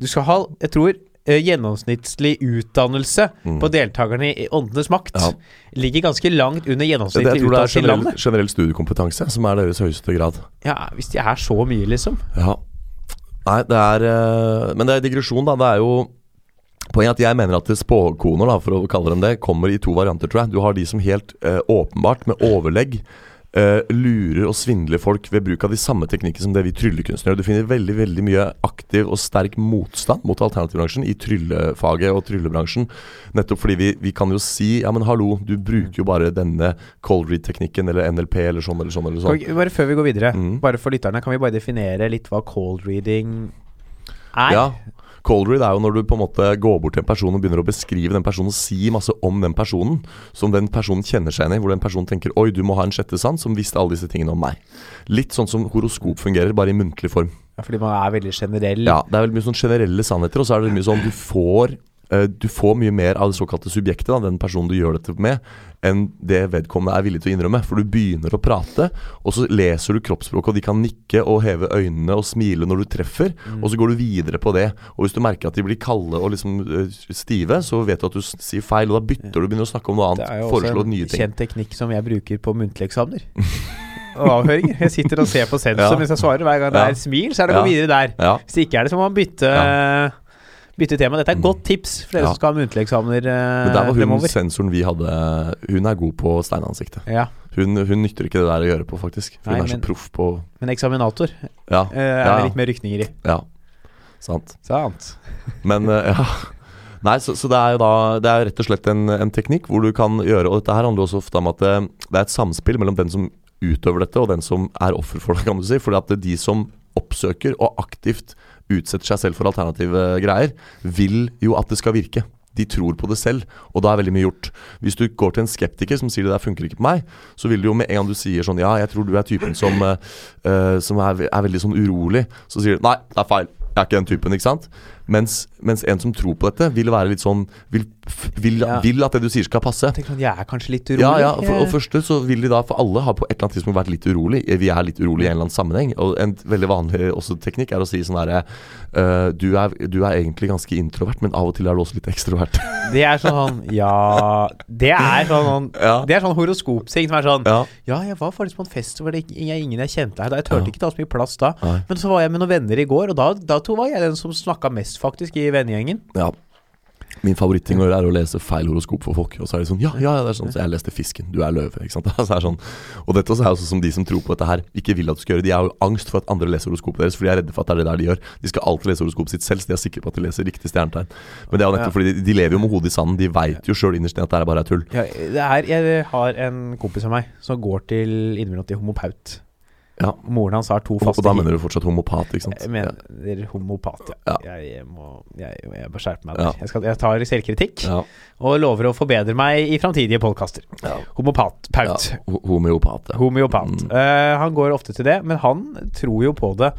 Du skal ha, jeg tror eh, Gjennomsnittlig utdannelse på deltakerne i Åndenes makt
Mm. Ja.
ligger ganske langt under
Det, jeg
gjennomsnittlig
tror det er
utdannelse i
generell,
landet.
generell studiekompetanse som er deres høyeste grad.
Ja, Hvis de er så mye, liksom.
Ja. Nei, det er eh, Men det er digresjon, da. Det er jo Poenget er at jeg mener at spåkoner, da, for å kalle dem det, kommer i to varianter, tror jeg. Du har de som helt eh, åpenbart, med overlegg, eh, lurer og svindler folk ved bruk av de samme teknikkene som det vi tryllekunstnere gjør. Du finner veldig veldig mye aktiv og sterk motstand mot alternativbransjen i tryllefaget og tryllebransjen. Nettopp fordi vi, vi kan jo si ja, men hallo, du bruker jo bare denne cold read-teknikken eller NLP eller sånn eller sånn eller
Kan
sånn.
vi, ikke- bare før vi går videre,
Mm.
bare for lytterne, kan vi bare definere litt hva cold reading er?
Ja. Cold read er jo når du på en måte går bort til en person og begynner å beskrive den personen, si masse om den personen som den personen kjenner seg igjen i. Hvor den personen tenker 'oi, du må ha en sjette sans som visste alle disse tingene om meg'. Litt sånn som horoskop fungerer, bare i muntlig form.
Ja, Fordi man er veldig generell.
Ja, Det er veldig mye sånn generelle sannheter, og så er det veldig mye sånn du får eh, du får mye mer av det såkalte subjektet, da, den personen du gjør dette med, enn det vedkommende er villig til å innrømme. For du begynner å prate, og så leser du kroppsspråket, og de kan nikke og heve øynene og smile når du treffer,
Mm.
og så går du videre på det. Og hvis du merker at de blir kalde og liksom eh, stive, så vet du at du s- sier feil, og da bytter du og begynner å snakke om noe
Det er
annet.
jo også
Foreslå
en
nye ting.
kjent teknikk som jeg bruker på muntlige eksamener. Og avhøringer. Jeg sitter og ser på sensor
Ja.
mens jeg svarer. Hver gang det
Ja.
er et smil, så er det å gå
Ja.
videre der.
Ja.
Hvis det ikke er det, så må man bytte, bytte tema. Dette er et godt tips for dere
Mm. Ja.
som skal ha muntlige eksamener eh,
Men der var hun
fremover.
sensoren vi hadde Hun er god på steinansiktet.
Ja,
Hun, hun nytter ikke det der å gjøre på, faktisk. For
Nei,
hun er så
men-
proff på
Men eksaminator
Ja.
eh, er
Ja,
det
ja.
litt mer rykninger i.
Ja, sant.
Sant.
Men eh, ja. Nei, så, så det er jo da Det er rett og slett en, en teknikk hvor du kan gjøre Og dette her handler også ofte om at det, det er et samspill mellom den som utøver dette, og den som er offer for det, kan du si. Fordi at det er de som oppsøker og aktivt utsetter seg selv for alternative greier, vil jo at det skal virke. De tror på det selv, og da er veldig mye gjort. Hvis du går til en skeptiker som sier det der funker ikke på meg, så vil du jo med en gang du sier sånn ja, jeg tror du er typen som, eh, eh, som er, ve- er veldig sånn urolig, så sier du nei, det er feil. Jeg er ikke den typen, ikke sant? Mens, mens en som tror på dette, vil være litt sånn Vil, vil,
Ja.
vil at det du sier skal passe.
Jeg tenker sånn, jeg er kanskje litt urolig.
Ja, ja, for, og først så vil de da, for alle har på et eller annet tidspunkt vært litt urolig. Eh, Vi er litt urolig i en eller annen sammenheng. Og en veldig vanlig også teknikk er å si sånn herre eh, du, er- du er egentlig ganske introvert, men av og til er du også litt ekstrovert.
Det er sånn Ja Det er sånn
Ja.
Det er sånn horoskopting som er sånn ja.
ja.
jeg var faktisk på en fest hvor det ikke- ingen jeg kjente her. da. Jeg turte
Ja.
ikke ta så mye plass da.
Nei.
Men så var jeg med noen venner i går, og da, da to var jeg den som snakka mest, faktisk, i vennegjengen.
ja. Min favoritting å gjøre er å lese feil horoskop for folk. Og så er de sånn Ja, ja, ja, det er sånn. Så jeg leste 'Fisken', du er løve. Ikke sant? Så det er sånn. Og dette også er også som de som tror på dette her, ikke vil at du skal gjøre. De har jo angst for at andre leser horoskopet deres, for de er redde for at det er det der de gjør. De skal alltid lese horoskopet sitt selv, så de er sikre på at de leser riktig stjernetegn. Men det er jo nettopp fordi de, de lever jo med hodet i sanden. De veit jo sjøl innerst inne at det her bare er tull.
Ja, det er, jeg har en kompis av meg som går til innimellom til homopaut.
Ja.
Moren hans har to
Og,
faste
og da mener du fortsatt homopat, ikke sant?
Jeg mener homopat, ja.
Ja.
Jeg må Jeg, jeg bør skjerpe meg.
Ja.
der. Jeg, skal, jeg tar selvkritikk
Ja.
og lover å forbedre meg i framtidige podkaster.
Ja.
Homopat.
ja.
Paut.
ho- Homeopat, ja.
Homeopat. Eh, han går ofte til det, men han tror jo på det.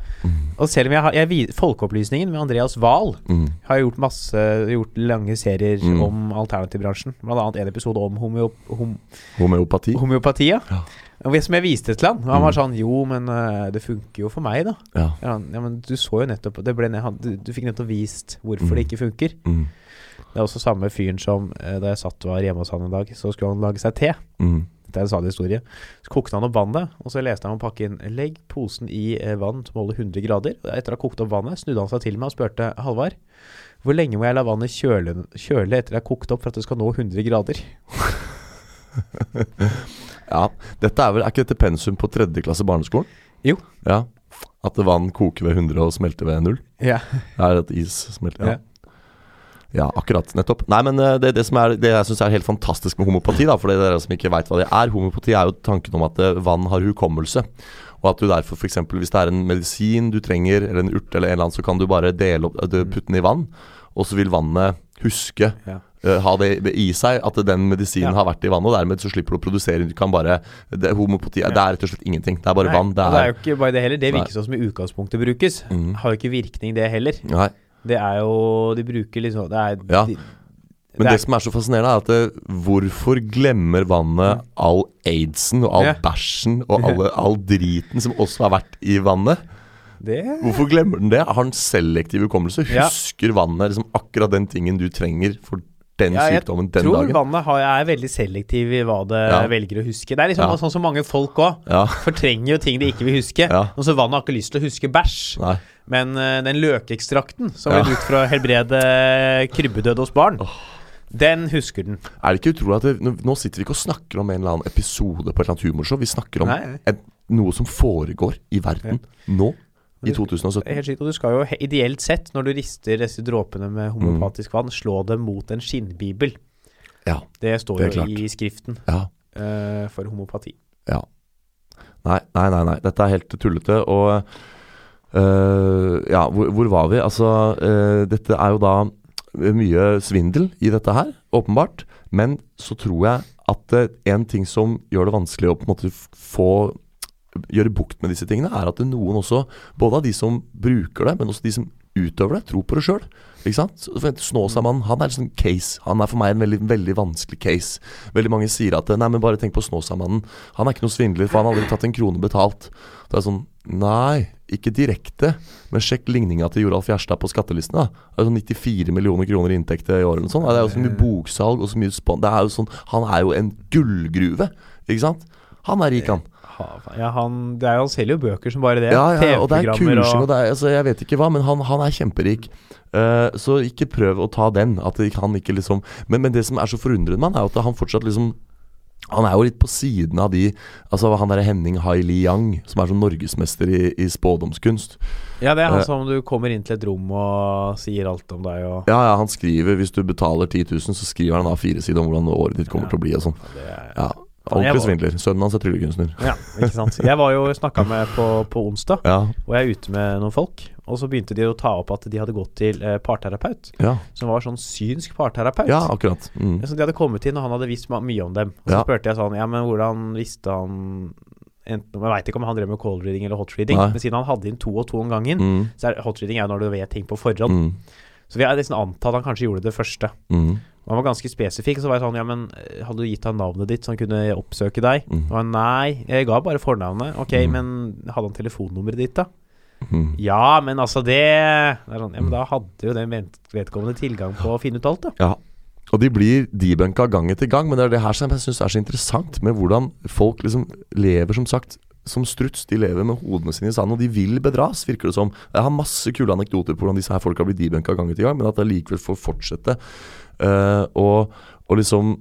Og selv om jeg har jeg, vi- Folkeopplysningen med Andreas Wahl
Mm.
har gjort masse Gjort lange serier
Mm.
om alternativbransjen. Blant annet en episode om homeo, hom,
Homeopati.
homeopati. Ja.
Ja. Mm.
Og Som jeg viste til han. Og han var sånn Jo, men eh, det funker jo for meg, da.
Ja.
Ja, han- ja, men du så jo nettopp det ble, ned- han- du, du fikk nettopp vist hvorfor det ikke funker.
Mm.
Det er også samme fyren som eh, da jeg satt var hjemme hos han en dag, så skulle han lage seg te.
Mm.
Det er en sann historie. Så kokte han opp vannet, og så leste han om pakken 'Legg posen i eh, vann som holder 100 grader'. Og Etter å ha kokt opp vannet snudde han seg til meg og spurte 'Halvard, hvor lenge må jeg la vannet kjøle, kjøle etter det er kokt opp for at det skal nå 100 grader?'
Ja, dette er vel, er ikke dette pensum på tredje klasse barneskolen?
Jo.
Ja, At vann koker ved 100 og smelter ved 0?
Ja.
Det er at is smelter, ja. Ja, akkurat. Nettopp. Nei, men eh, det, det som er Det jeg syns er helt fantastisk med homopati, da, for det er dere som ikke veit hva det er Homopati er jo tanken om at eh, vann har hukommelse. Og at du derfor f.eks. hvis det er en medisin du trenger, eller en urt eller en eller annen, så kan du bare dele opp, du, putte den i vann, og så vil vannet huske
Ja.
eh, ha det i seg, at den medisinen
Ja.
har vært i vannet, og dermed så slipper du å produsere. Du kan bare det, Homopati
Ja.
Det er rett og slett ingenting. Det er bare
Nei,
vann. Det
og det er
er,
jo ikke bare det heller. Det
Nei.
virker sånn som i utgangspunktet brukes.
Mhm.
Har jo ikke virkning, det heller.
Nei.
Det er jo De bruker liksom Det er
Ja.
de, det
Men det,
er-
som er så fascinerende, er at eh, hvorfor glemmer vannet all aidsen og all
Mm. Ja.
bæsjen og alle, all driten som også har vært i vannet?
det
Hvorfor glemmer den det? Har den selektiv hukommelse?
Ja.
Husker vannet liksom akkurat den tingen du trenger for den
Ja, jeg
sykdommen den
tror
dagen?
vannet har, er veldig selektiv i hva det
Ja.
velger å huske. Det er liksom
Ja.
sånn som mange folk òg.
Ja.
Fortrenger jo ting de ikke vil huske.
Ja.
Og så vannet har ikke lyst til å huske bæsj.
Nei.
Men eh, den løkekstrakten som
Ja.
ble brukt for å helbrede eh, krybbedød hos barn, den husker den.
Er det ikke utrolig at det, nå- Nå sitter vi ikke og snakker om en eller annen episode på et eller annet humorshow. Vi snakker om
Nei, nei.
et, noe som foregår i verden nå, i 2017.
Helt sykt, og du skal jo he- ideelt sett, når du rister disse dråpene med
Mm.
homopatisk vann, slå dem mot en skinnbibel.
Ja.
Det står
Det er
jo
klart.
i skriften
ja.
eh, for homopati.
Ja. Nei, nei, nei. nei. Dette er helt tullete. Og øh, ja, hvor, hvor var vi? Altså, øh, dette er jo da mye svindel i dette her, åpenbart. Men så tror jeg at eh, en ting som gjør det vanskelig å på en måte f- få gjøre bukt med disse tingene, er at det noen også, både av de som bruker det, men også de som utøver det, tror på det sjøl. Snåsamannen, han er liksom case. Han er for meg en veldig, veldig vanskelig case. Veldig mange sier at nei, men bare tenk på Snåsamannen. Han er ikke noen svindler, for han har aldri tatt en krone betalt. Det er sånn Nei, ikke direkte, men sjekk ligninga til Joralf Gjerstad på skattelistene. da. Det er jo sånn 94 millioner kroner i inntekter i året eller noe sånt. Det er jo så mye boksalg og så mye spon... Det er jo sånn, han er jo en gullgruve, ikke sant? Han er rik, han.
Ha- Ja, han, det er jo, han selger jo bøker som bare det.
Ja, ja, og det er
TV-programmer
kursing og det er, altså, Jeg vet ikke hva, men han, han er kjemperik. Eh, så ikke prøv å ta den. At det- han ikke liksom Men, men det som er så forundrende med han, er jo at han fortsatt liksom han er jo litt på siden av de Altså Han der Henning Hai Li Yang, som er sånn norgesmester i, i spådomskunst.
Ja, det er
Eh.
han som du kommer inn til et rom og sier alt om deg og
Ja, ja, han skriver Hvis du betaler 10 000, så skriver han da fire sider om hvordan året ditt kommer til å bli og sånn.
det er,
Ja,
Faen, jeg
Ordentlig
var-
svindler. Sønnen hans er tryllekunstner.
ja, ikke sant. Jeg var jo snakka med på, på onsdag,
Ja,
og jeg er ute med noen folk. Og så begynte de å ta opp at de hadde gått til eh, parterapeut,
Ja,
som var sånn synsk parterapeut.
ja akkurat. Mm.
Så de hadde kommet inn, og han hadde visst ma- mye om dem. Og så
Ja.
spurte jeg sånn, ja, men hvordan visste han enten, Jeg veit ikke om han drev med cold reading eller hot reading,
Nei.
men siden han hadde inn to og to om gangen,
Mm.
så er hot reading er jo når du vet ting på forhånd.
Mm.
Så vi har nesten antatt han kanskje gjorde det første.
Mm.
Og Han var ganske spesifikk, så var jeg sånn, ja, men eh, hadde du gitt han navnet ditt så han kunne oppsøke deg?
Mm.
Og han, nei, jeg ga bare fornavnet. Ok,
Mm.
men hadde han telefonnummeret ditt da?
Mm.
Ja, men altså det, det er sånn, ja, men Da hadde jo den vent- vedkommende tilgang på å finne ut alt, da.
Ja. Og de blir debunka gang etter gang, men det er det her som jeg syns er så interessant, med hvordan folk liksom lever, som sagt, som struts. De lever med hodene sine i sanden, og de vil bedras, virker det som. Jeg har masse kule anekdoter på hvordan disse her folka blir debunka gang etter gang, men at det likevel får fortsette. Eh, og, og liksom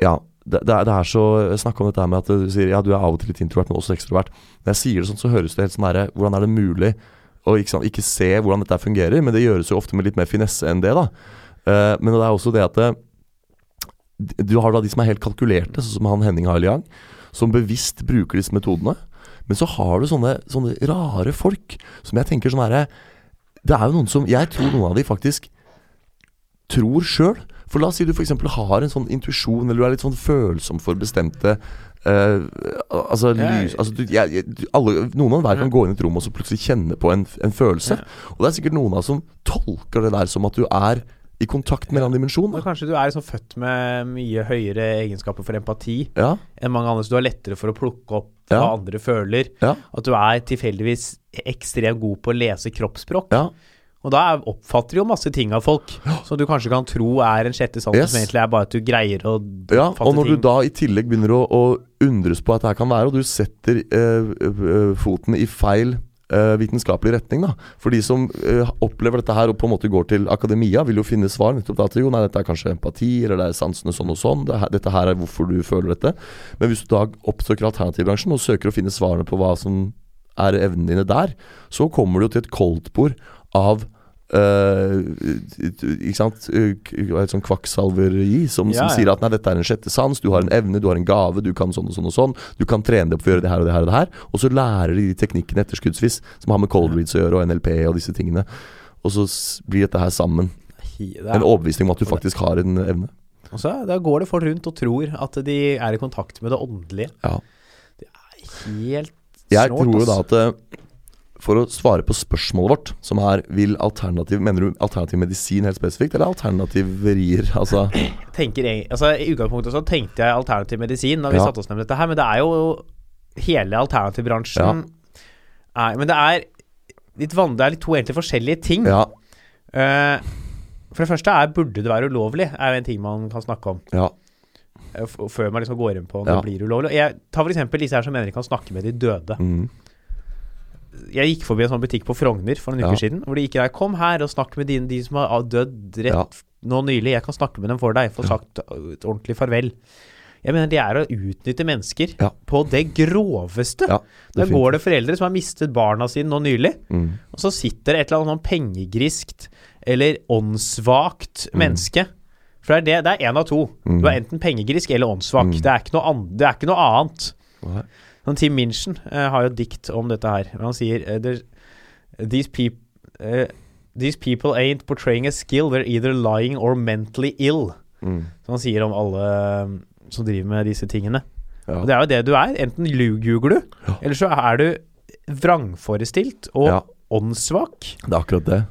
Ja. Det, det, er, det er så Jeg snakka om dette her med at du sier ja, du er av og til litt introvert, men også ekstrovert. Når jeg sier det sånn, så høres det helt sånn herre Hvordan er det mulig å ikke, sant, ikke se hvordan dette fungerer? Men det gjøres jo ofte med litt mer finesse enn det, da. Eh, men det er også det at eh, d- du har da de som er helt kalkulerte, sånn som han Henning Hailiang, som bevisst bruker disse metodene. Men så har du sånne, sånne rare folk som jeg tenker sånn herre Det er jo noen som Jeg tror noen av de faktisk tror sjøl. For la oss si du f.eks. har en sånn intuisjon, eller du er litt sånn følsom for bestemte eh, al- altså,
Ja,
lys, altså du, jeg, jeg, du- alle, Noen av hver kan gå inn i et rom og så plutselig kjenne på en, en følelse. Og det er sikkert noen av oss som tolker det der som at du er i kontakt med en annen dimensjon.
Og
da.
kanskje du er liksom født med mye høyere egenskaper for empati
Ja,
enn mange andre, så du har lettere for å plukke opp hva
Ja.
andre føler.
ja,
At du er tilfeldigvis ekstremt god på å lese kroppsspråk.
ja.
Og da er- oppfatter du jo masse ting av folk som du kanskje kan tro er en sjette sans,
Yes.
som egentlig er bare at du greier å
Ja, og
fatte
når du
ting.
da i tillegg begynner å, å undres på at dette kan være, og du setter eh, eh, foten i feil eh, vitenskapelig retning, da. For de som eh, opplever dette her og på en måte går til akademia, vil jo finne svar nettopp da til jo, nei, dette er kanskje empati, eller det er sansene sånn og sånn, det her, dette her er hvorfor du føler dette. Men hvis du da oppsøker alternativbransjen og søker å finne svarene på hva som er evnene dine der, så kommer du jo til et koldtbord av eh, ikke sant eh, k- Et sånn kvakksalveri som,
Ja,
som
ja.
sier at nei, dette er en sjette sans, du har en evne, du har en gave, du kan sånn og sånn og sånn. Du kan trene deg opp for å gjøre det her og det her og det her. Og så lærer de de teknikkene etterskuddsvis som har med cold reads å gjøre og NLP og disse tingene. Og så s- blir dette her sammen.
Det
En
er,
overbevisning om at du faktisk har en evne.
og så, da går det folk rundt og tror at de er i kontakt med det åndelige.
Ja.
Helt
Jeg
snålt,
tror jo da
ass.
at eh, for å svare på spørsmålet vårt, som er vil alternativ, Mener du alternativ medisin helt spesifikt, eller alternativerier? Altså,
tenker jeg, altså, I utgangspunktet så tenkte jeg alternativ medisin da vi
Ja.
satte oss ned med dette her, men det er jo hele alternativbransjen er, Men det er litt vanlig, det er litt to egentlig forskjellige ting.
ja,
Eh, for det første er burde det være ulovlig, er jo en ting man kan snakke om.
ja,
eh, f- Før man liksom går inn på om
Ja.
det blir ulovlig. Jeg tar f.eks. disse her som mener de kan snakke med de døde.
mm,
Jeg gikk forbi en sånn butikk på Frogner for noen
Ja.
uker siden, hvor de gikk der. Kom her og snakk med dine, de som har ah, dødd rett
Ja.
nå nylig. Jeg kan snakke med dem for deg. Få sagt uh, et ordentlig farvel. Jeg mener det er å utnytte mennesker
Ja.
på det groveste.
ja.
Da går det foreldre som har mistet barna sine nå nylig,
Mm,
og så sitter det et eller annet sånn pengegriskt eller åndssvakt
Mm.
menneske. For det er, det, det er én av to. Du er enten pengegrisk eller åndssvak.
Mm.
Det, er ikke noe an, det er ikke noe annet.
Nei.
Sånn, Tim Minchin eh, har jo et dikt om dette her. hvor Han sier eh, «There's- these, peop eh, these people ain't portraying a skill, they're either lying or mentally ill.
Mm,
Som han sier om alle eh, som driver med disse tingene. Og
ja,
det er jo det du er. Enten ljuger du,
Ja.
eller så er du vrangforestilt og
ja,
åndssvak.
det er akkurat det.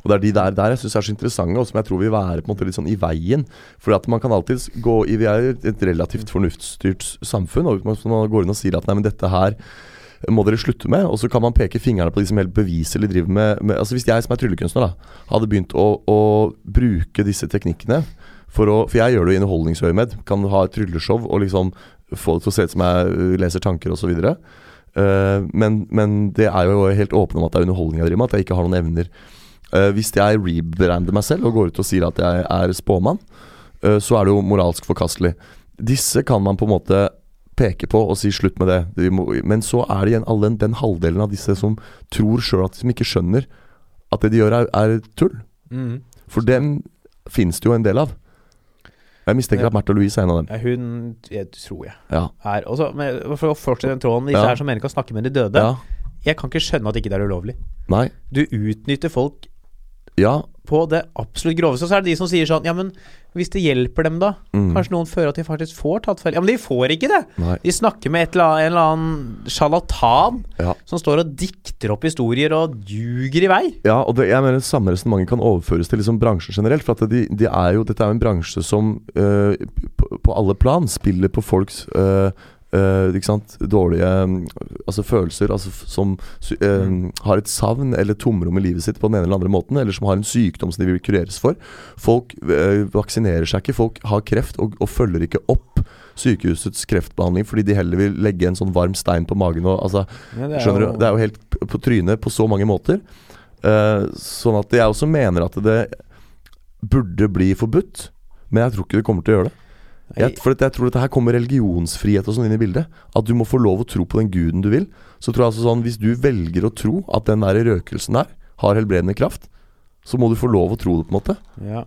Og det er de der, der jeg syns er så interessante, og som jeg tror vil være på en måte litt sånn i veien. For at man kan alltids gå i Vi er et relativt fornuftsstyrt samfunn, og hvis man- man går inn og sier at nei, men dette her må dere slutte med. Og så kan man peke fingrene på de som helt beviselig driver med, med Altså Hvis jeg som er tryllekunstner da hadde begynt å, å bruke disse teknikkene for, å, for jeg gjør det jo i underholdningsøyemed. Kan ha et trylleshow og liksom få det til å se ut som jeg ø, leser tanker osv. Uh, men, men det er jo helt åpent om at det er underholdning jeg driver med, at jeg ikke har noen evner. Eh, hvis jeg rebrander meg selv og går ut og sier at jeg er spåmann, eh, så er det jo moralsk forkastelig. Disse kan man på en måte peke på og si slutt med det. Vi må, men så er det igjen all den, den halvdelen av disse som tror sjøl at de ikke skjønner at det de gjør er, er tull. Mm. For dem fins det jo en del av. Jeg mistenker
Ja.
at Märtha Louise er en av dem.
Ja, Hun jeg tror jeg
Ja.
er også, men For å fortsette den tråden, disse
Ja.
her som mener kan snakke med de døde.
ja.
Jeg kan ikke skjønne at ikke det er ulovlig.
Nei.
Du utnytter folk
Ja.
på det absolutt groveste. Og så er det de som sier sånn Ja, men hvis det hjelper dem, da?
Mm.
Kanskje noen føler at de faktisk får tatt feil? Ja, men de får ikke det!
Nei.
De snakker med et eller annet, en eller annen sjarlatan
Ja.
som står og dikter opp historier og ljuger i vei.
Ja, og det, jeg mener samme resonnement kan overføres til liksom bransjen generelt. For at de, de er jo, dette er jo en bransje som eh, på, på alle plan spiller på folks eh, eh, ikke sant? Dårlige mm, altså følelser altså f som sy- eh, har et savn eller tomrom i livet sitt på den ene eller andre måten, eller som har en sykdom som de vil kureres for. Folk eh, vaksinerer seg ikke, folk har kreft og, og følger ikke opp sykehusets kreftbehandling fordi de heller vil legge en sånn varm stein på magen. Og, altså, Skjønner du? Det er jo helt p- på trynet på så mange måter. Eh, sånn at jeg også mener at det burde bli forbudt. Men jeg tror ikke det kommer til å gjøre det. Jeg, for at jeg tror dette her kommer religionsfrihet og sånn inn i bildet. At du må få lov å tro på den guden du vil. Så tror jeg altså sånn, Hvis du velger å tro at den der røkelsen der har helbredende kraft, så må du få lov å tro det, på en måte.
Ja.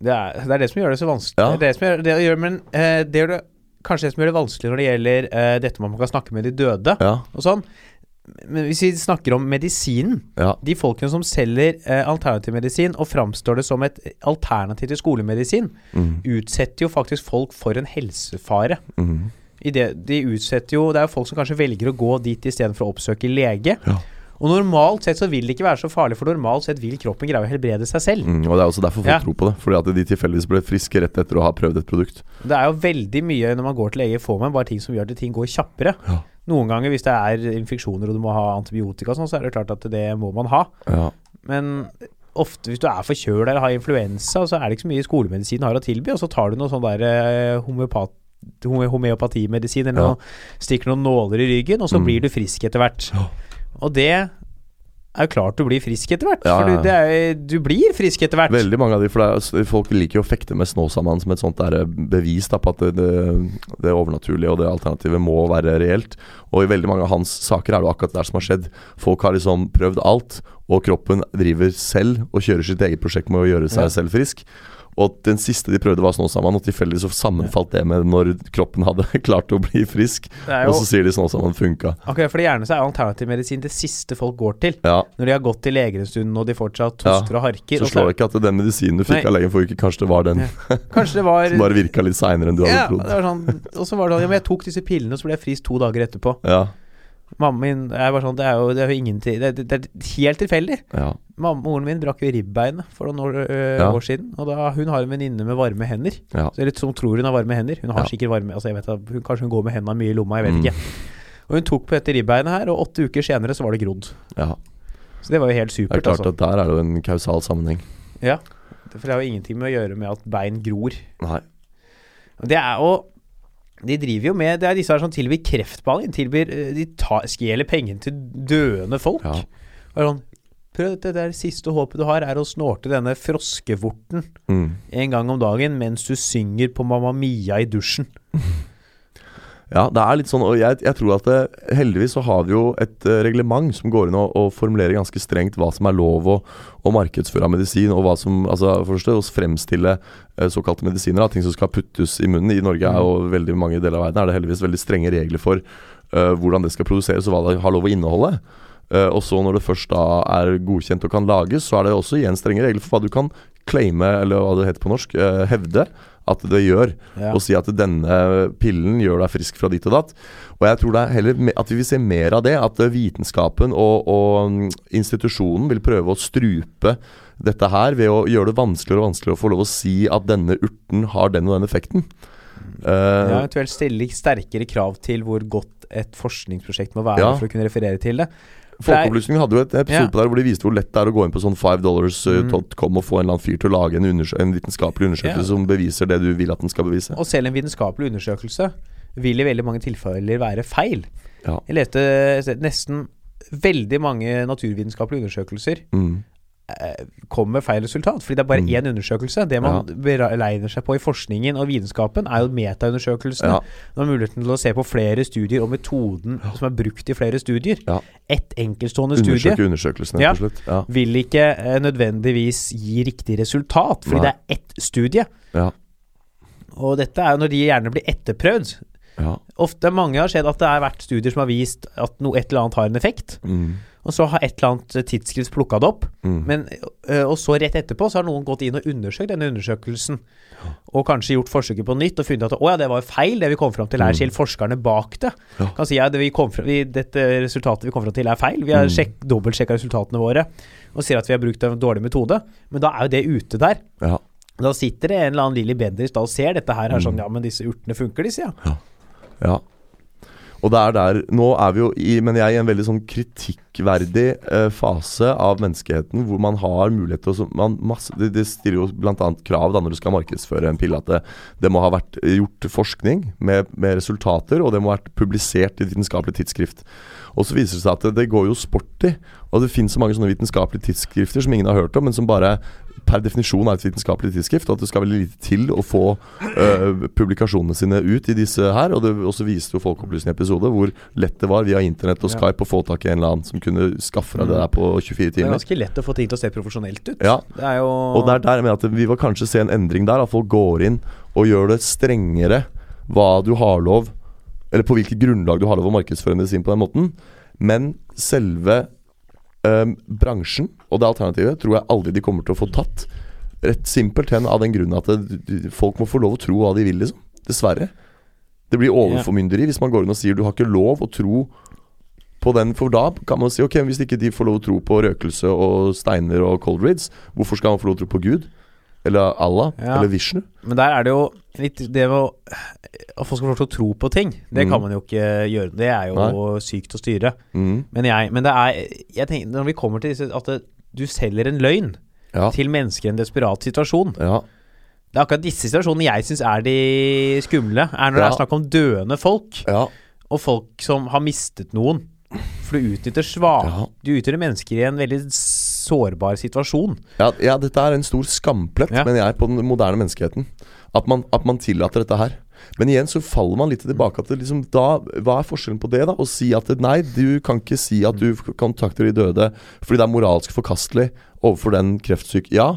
Det er, det er det som gjør det så vanskelig.
Ja.
Det, er det, som gjør, det gjør, men eh, det gjør det, kanskje det som gjør det vanskelig når det gjelder eh, dette med at man kan snakke med de døde
Ja,
og sånn. Men hvis vi snakker om medisinen
ja,
De folkene som selger eh, alternativ medisin og framstår det som et alternativ til skolemedisin,
mm,
utsetter jo faktisk folk for en helsefare.
mm,
I det, de utsetter jo, det er jo folk som kanskje velger å gå dit istedenfor å oppsøke lege.
Ja.
Og normalt sett så vil det ikke være så farlig, for normalt sett vil kroppen greie å helbrede seg selv.
mm. Og det er også derfor folk
Ja.
tror på det. Fordi at de tilfeldigvis ble friske rett etter å ha prøvd et produkt.
Det er jo veldig mye når man går til lege, får man bare ting som gjør at ting går kjappere.
Ja.
Noen ganger hvis det er infeksjoner og du må ha antibiotika og sånn, så er det klart at det må man ha.
Ja,
Men ofte hvis du er forkjøla eller har influensa, så er det ikke så mye skolemedisin har å tilby, og så tar du noe sånn der eh, homeopat home- homeopatimedisin eller
Ja.
noe, stikker noen nåler i ryggen, og så
Mm.
blir du frisk etter hvert.
Ja.
Og det er jo klart du blir frisk etter hvert,
Ja, ja,
for
ja.
du, det er, jo- du blir frisk etter hvert.
Veldig mange av de, for det er, altså, Folk liker jo å fekte med Snåsamannen som et sånt der eh, bevis da, på at det, det, det overnaturlige og det alternativet må være reelt. Og i veldig mange av hans saker er det jo akkurat det der som har skjedd. Folk har liksom prøvd alt, og kroppen driver selv og kjører sitt eget prosjekt med å gjøre seg
Ja.
selv frisk. Og den siste de prøvde, var Snåsamannen, og tilfeldigvis så sammenfalt det med når kroppen hadde klart å bli frisk.
Det er
Og
jo
så sier de Snåsamannen funka.
akkurat fordi gjerne så er alternativmedisin det siste folk går til.
Ja.
Når de har gått til legen en stund og de fortsatt
Ja,
hoster og harker.
Så
og
slår det ikke at den medisinen du fikk
Nei.
av legen forrige uke, kanskje det var den
Ja. Kanskje det var,
som bare virka litt seinere enn
ja,
du hadde
det
trodd.
var sånn, Og så var det sånn Ja, men jeg tok disse pillene, og så ble jeg frisk to dager etterpå.
Ja,
Mamma min jeg var sånn, Det er jo, det er jo ingenting det, det, det er helt tilfeldig.
ja.
Mamma, moren min brakk jo ribbeinet for noen år, øh,
Ja.
år siden. Og da, hun har en venninne med varme hender.
Ja.
Så Eller som tror hun har varme hender. Hun har
Ja.
sikkert varme altså jeg vet, at hun, Kanskje hun går med hendene mye i lomma, jeg vet
Mm.
ikke. Og hun tok på dette ribbeinet her, og åtte uker senere så var det grodd.
Ja,
Så det var jo helt
det er
supert,
klart
altså.
at der er det jo en kausal sammenheng.
Ja. For det har jo ingenting med å gjøre med at bein gror.
Nei.
Og Det er jo De driver jo med Det er disse her som tilbyr kreftbehandling. Tilbyr, eh, de tar, stjeler pengene til døende folk.
Ja.
Og er sånn, Prøv dette, det er det siste håpet du har, er å snorte denne froskevorten
Mm.
en gang om dagen mens du synger på Mamma Mia i dusjen.
Ja, det er litt sånn, og jeg, jeg tror at det, heldigvis så har vi jo et eh, reglement som går inn og, og formulerer ganske strengt hva som er lov å, å markedsføre av medisin, og hva som altså, forstå, å fremstille eh, såkalte medisiner, da, ting som skal puttes i munnen. I Norge er jo veldig mange deler av verden er det heldigvis veldig strenge regler for eh, hvordan det skal produseres, og hva det har lov å inneholde. Eh, og så når det først da er godkjent og kan lages, så er det også igjen strenge regler for hva du kan claime, eller hva det heter på norsk, eh, hevde at det gjør
Ja.
og si at denne pillen gjør deg frisk fra ditt og datt. Og jeg tror det er heller me- at vi vil se mer av det. At eh, vitenskapen og, og mm, institusjonen vil prøve å strupe dette her ved å gjøre det vanskeligere og vanskeligere å få lov å si at denne urten har den og den effekten.
Mm. Ja,
Eh,
eventuelt stille sterkere krav til hvor godt et forskningsprosjekt må være
Ja.
for å kunne referere til det.
Folkeopplysningen hadde jo et episode
Ja. Mm.
på der hvor de viste hvor lett det er å gå inn på sånn fivedollars.com og få en eller annen fyr til å lage en, undersø en vitenskapelig
Ja.
undersøkelse som beviser det du vil at den skal bevise.
Og selv en vitenskapelig undersøkelse vil i veldig mange tilfeller være feil.
Ja.
Jeg leste nesten veldig mange naturvitenskapelige undersøkelser
Mm.
kommer med feil resultat, fordi det er bare
Mm.
én undersøkelse. Det man beregner seg på i forskningen og vitenskapen, er jo metaundersøkelsene.
Ja.
Man har muligheten til å se på flere studier og metoden som er brukt i flere studier.
Ja.
Ett enkeltstående studie
Undersøke undersøkelsen,
Ja.
rett og slett. Ja.
vil ikke eh, nødvendigvis gi riktig resultat, fordi
Nei.
det er ett studie.
Ja.
Og dette er jo når de gjerne blir etterprøvd.
Ja.
Ofte mange har sett at det har vært studier som har vist at noe et eller annet har en effekt,
Mm.
og så har et eller annet eh, tidsskrift plukka det opp.
Mm.
Men, ø, og så rett etterpå så har noen gått inn og undersøkt denne undersøkelsen, og kanskje gjort forsøket på nytt og funnet at å ja, det var feil, det vi kom fram til her, selv forskerne bak det
Mm. Ja.
kan si ja, det vi kom fram, vi, dette resultatet vi kom fram til er feil, vi har
Mm.
sjekk, dobbeltsjekka resultatene våre og sier at vi har brukt en dårlig metode, men da er jo det ute der.
ja.
Da sitter det en eller annen Lilly Bendriss da og ser dette her,
Mm.
er sånn ja, men disse urtene funker, de, sier jeg.
Ja. Og det er der Nå er vi jo i, men jeg, i en veldig sånn kritikkverdig eh, fase av menneskeheten hvor man har mulighet til å så- man masse, Det det stiller jo bl.a. krav da når du skal markedsføre en pille, at det, det må ha vært gjort forskning med, med resultater, og det må ha vært publisert i et vitenskapelig tidsskrift. Og så viser det seg at det, det går jo sport i. Og det finnes så mange sånne vitenskapelige tidsskrifter som ingen har hørt om, men som bare per definisjon er et vitenskapelig tidsskrift. Og at det skal veldig lite til å få øh, publikasjonene sine ut i disse her. Og det og så viste jo Folkeopplysningen episode hvor lett det var via internett og
Ja. Mm.
Skype å få tak i en eller annen som kunne skaffe deg det der på 24
Det er
timer.
ganske lett å få ting til å se profesjonelt ut.
Ja,
Det er jo
og det er der jeg mener at vi vil kanskje se en endring der. At folk går inn og gjør det strengere hva du har lov Eller på hvilket grunnlag du har lov å markedsføre medisin på den måten. Men selve øhm, bransjen og det alternativet tror jeg aldri de kommer til å få tatt. Rett simpelthen av den grunn at det, du- folk må få lov å tro hva de vil, liksom. Dessverre. Det blir overformynderi hvis man går inn og sier du har ikke lov å tro på den, for da kan man si ok, men hvis ikke de får lov å tro på røkelse og steiner og cold reads, hvorfor skal man få lov å tro på Gud? Eller Allah?
Ja.
Eller Vishnu?
Men der er det jo litt det med å At folk skal få lov til å tro på ting, det
Mm.
kan man jo ikke gjøre. Det er jo sykt å styre.
Mm.
Men, jeg, men det er jeg tenker, Når vi kommer til disse At det, du selger en løgn
Ja.
til mennesker i en desperat situasjon
ja.
Det er akkurat disse situasjonene jeg syns er de skumle. Er når det
Ja.
er snakk om døende folk,
Ja.
og folk som har mistet noen. For du utnytter svak
Ja.
Du utnytter mennesker i en veldig sårbar situasjon.
Ja, ja, dette er en stor skamplett,
Ja.
mener jeg, på den moderne menneskeheten. At man, at man tillater dette her. Men igjen så faller man litt tilbake. At det liksom, da, hva er forskjellen på det, da? Å si at nei, du kan ikke si at du kontakter de døde fordi det er moralsk forkastelig overfor den kreftsyke. Ja,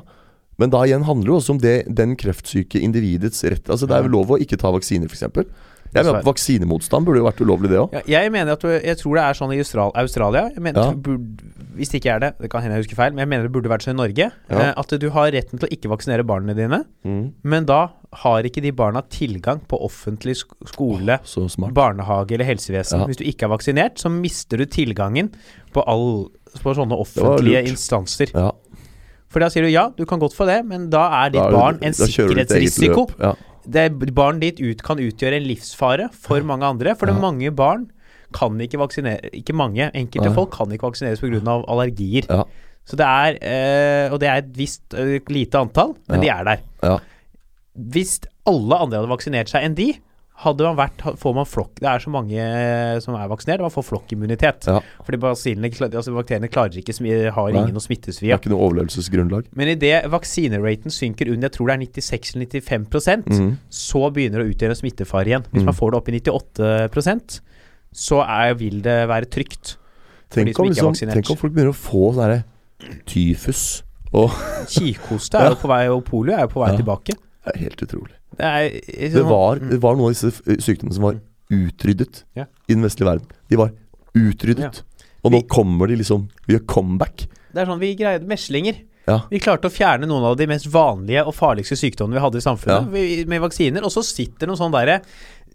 men da igjen handler det jo også om det, den kreftsyke individets rett. Altså Det er jo lov å ikke ta vaksiner, f.eks. Jeg mener at Vaksinemotstand burde jo vært ulovlig, det òg.
Ja, jeg mener at du, Jeg tror det er sånn i Austral Australia. Jeg mener,
Ja.
det burde, hvis det ikke er det, det kan hende jeg husker feil, men jeg mener det burde vært sånn i Norge.
Ja. Mm.
eh, At du har retten til å ikke vaksinere barna dine, men da har ikke de barna tilgang på offentlig sk skole,
Så smart.
barnehage eller helsevesen.
Ja.
Hvis du ikke er vaksinert, så mister du tilgangen på, all, på sånne
var
offentlige
lurt.
instanser.
Ja,
For da sier du ja, du kan godt få det, men da er ditt
da er det-
barn en
da kjører du ditt eget
sikkerhetsrisiko
løp. Ja.
det, barn ditt ut kan utgjøre en livsfare for mange andre. For det
Ja.
mange barn kan ikke vaksinere Ikke mange, enkelte
Nei.
folk kan ikke vaksineres pga. allergier.
Ja.
Så det er eh, Og det er et visst eh, lite antall, men de
Ja.
er der.
Ja.
Hvis alle andre hadde vaksinert seg enn de, hadde man vært, får man flokk Det er så mange eh, som er vaksinert, man får flokkimmunitet.
Ja.
Fordi basillene, kla- altså bakteriene klarer ikke, smi- har
Nei.
ingen å smittes
Det
via.
er ikke noe overlevelsesgrunnlag.
Men idet vaksineraten synker under jeg tror det er 96 eller 95
Mhm.
så begynner det å utgjøre smittefare igjen. Hvis
Mm.
man får det opp i 98 så er, vil det være trygt. de
Tenk
som ikke
om,
er
liksom,
vaksinert.
tenk om folk begynner å få sånn derre tyfus. Og
Kikhoste er jo på vei, og polio er jo på vei
Ja.
tilbake.
det er helt utrolig.
Det, er, eh, sånn-
Det var, det var noen av disse eh, sykdommene som var
Mm.
utryddet
Ja.
i den vestlige verden. De var utryddet. Og nå
Vi-
kommer de liksom Vi gjør comeback.
det er sånn vi greide meslinger.
Ja.
Vi klarte å fjerne noen av de mest vanlige og farligste sykdommene vi hadde i samfunnet vi, med vaksiner. Og så sitter noen sånne derre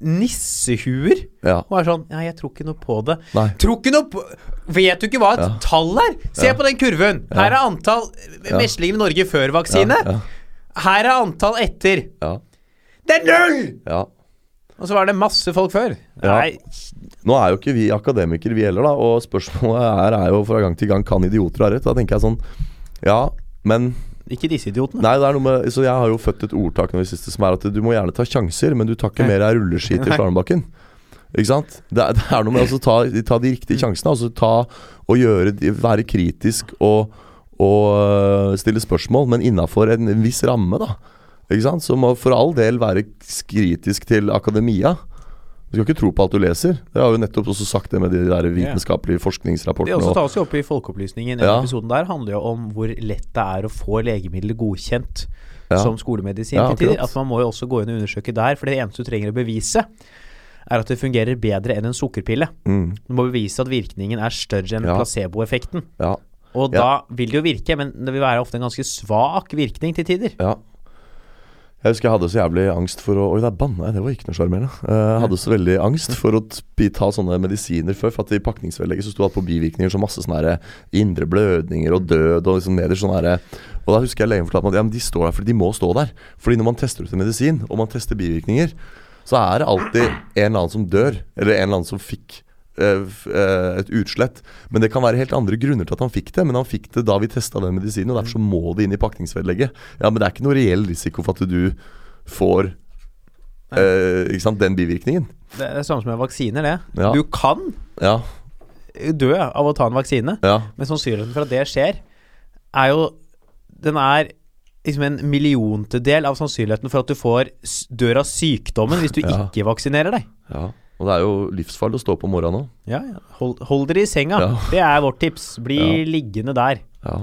nissehuer
Ja.
og er sånn Ja, jeg tror ikke noe på det.
Nei.
Tror ikke noe på Vet du ikke hva et
Ja.
tall er? Se på den kurven! Her er antall eh,
Ja.
meslinger i Norge før vaksine.
Ja.
Her er antall etter.
Ja.
Det er null!
ja.
Og så var det masse folk før.
Ja.
Nei,
Nå er jo ikke vi akademikere, vi heller, da. Og spørsmålet er, er jo fra gang til gang kan idioter ha rett. Da tenker jeg sånn Ja, men
ikke disse idiotene.
Nei, det er noe med Så jeg har jo født et ordtak nå i siste som er at du må gjerne ta sjanser, men du tar ikke mer av rulleski til slalåmbakken. Ikke sant? Det er, det er noe med å altså, ta, ta de riktige sjansene. Altså ta og gjøre de- Være kritisk og, og øh, stille spørsmål, men innafor en viss ramme, da. Ikke sant? Så må for all del være kritisk til akademia. Du skal ikke tro på alt du leser. Jeg har jo nettopp også sagt det med de der vitenskapelige
Det
forskningsrapportene.
også
og-
tas jo opp i Folkeopplysningen. Den
Ja.
episoden der handler jo om hvor lett det er å få legemidler godkjent
Ja.
som skolemedisin
Ja,
til tider.
akkurat.
At man må jo også gå inn og undersøke der, for det eneste du trenger å bevise, er at det fungerer bedre enn en sukkerpille.
Mm.
Du må bevise at virkningen er større enn
Ja.
placeboeffekten.
Ja.
Og
Ja.
da vil det jo virke, men det vil være ofte en ganske svak virkning til tider.
Ja. Jeg husker jeg hadde så jævlig angst for å Oi, der banna jeg. Det var ikke noe sjarmerende. Eh, Jeg hadde så veldig angst for å t- ta sånne medisiner før. For at i pakningsvedlegget så sto det at på bivirkninger så masse sånne her eh, indre blødninger og død og liksom nederst sånne her Og da husker jeg legen fortalte meg at ja, men de står der fordi de må stå der. Fordi når man tester ut en medisin, og man tester bivirkninger, så er det alltid en eller annen som dør, eller en eller annen som fikk eh, f- eh, et utslett. Men det kan være helt andre grunner til at han fikk det. Men han fikk det da vi testa den medisinen, og derfor så må det inn i pakningsvedlegget. Ja, men det er ikke noe reell risiko for at du får eh, ikke sant, den bivirkningen.
Det er det samme som med vaksiner, det.
Ja.
Du kan
Ja,
dø av å ta en vaksine,
ja,
men sannsynligheten for at det skjer, er jo Den er liksom en milliontedel av sannsynligheten for at du får s- dør av sykdommen hvis du
Ja.
ikke vaksinerer deg.
ja. Og det er jo livsfarlig å stå opp om morgenen òg.
Ja, ja. Hold, hold dere i senga.
Ja.
Det er vårt tips. Bli
Ja.
liggende der.
Ja.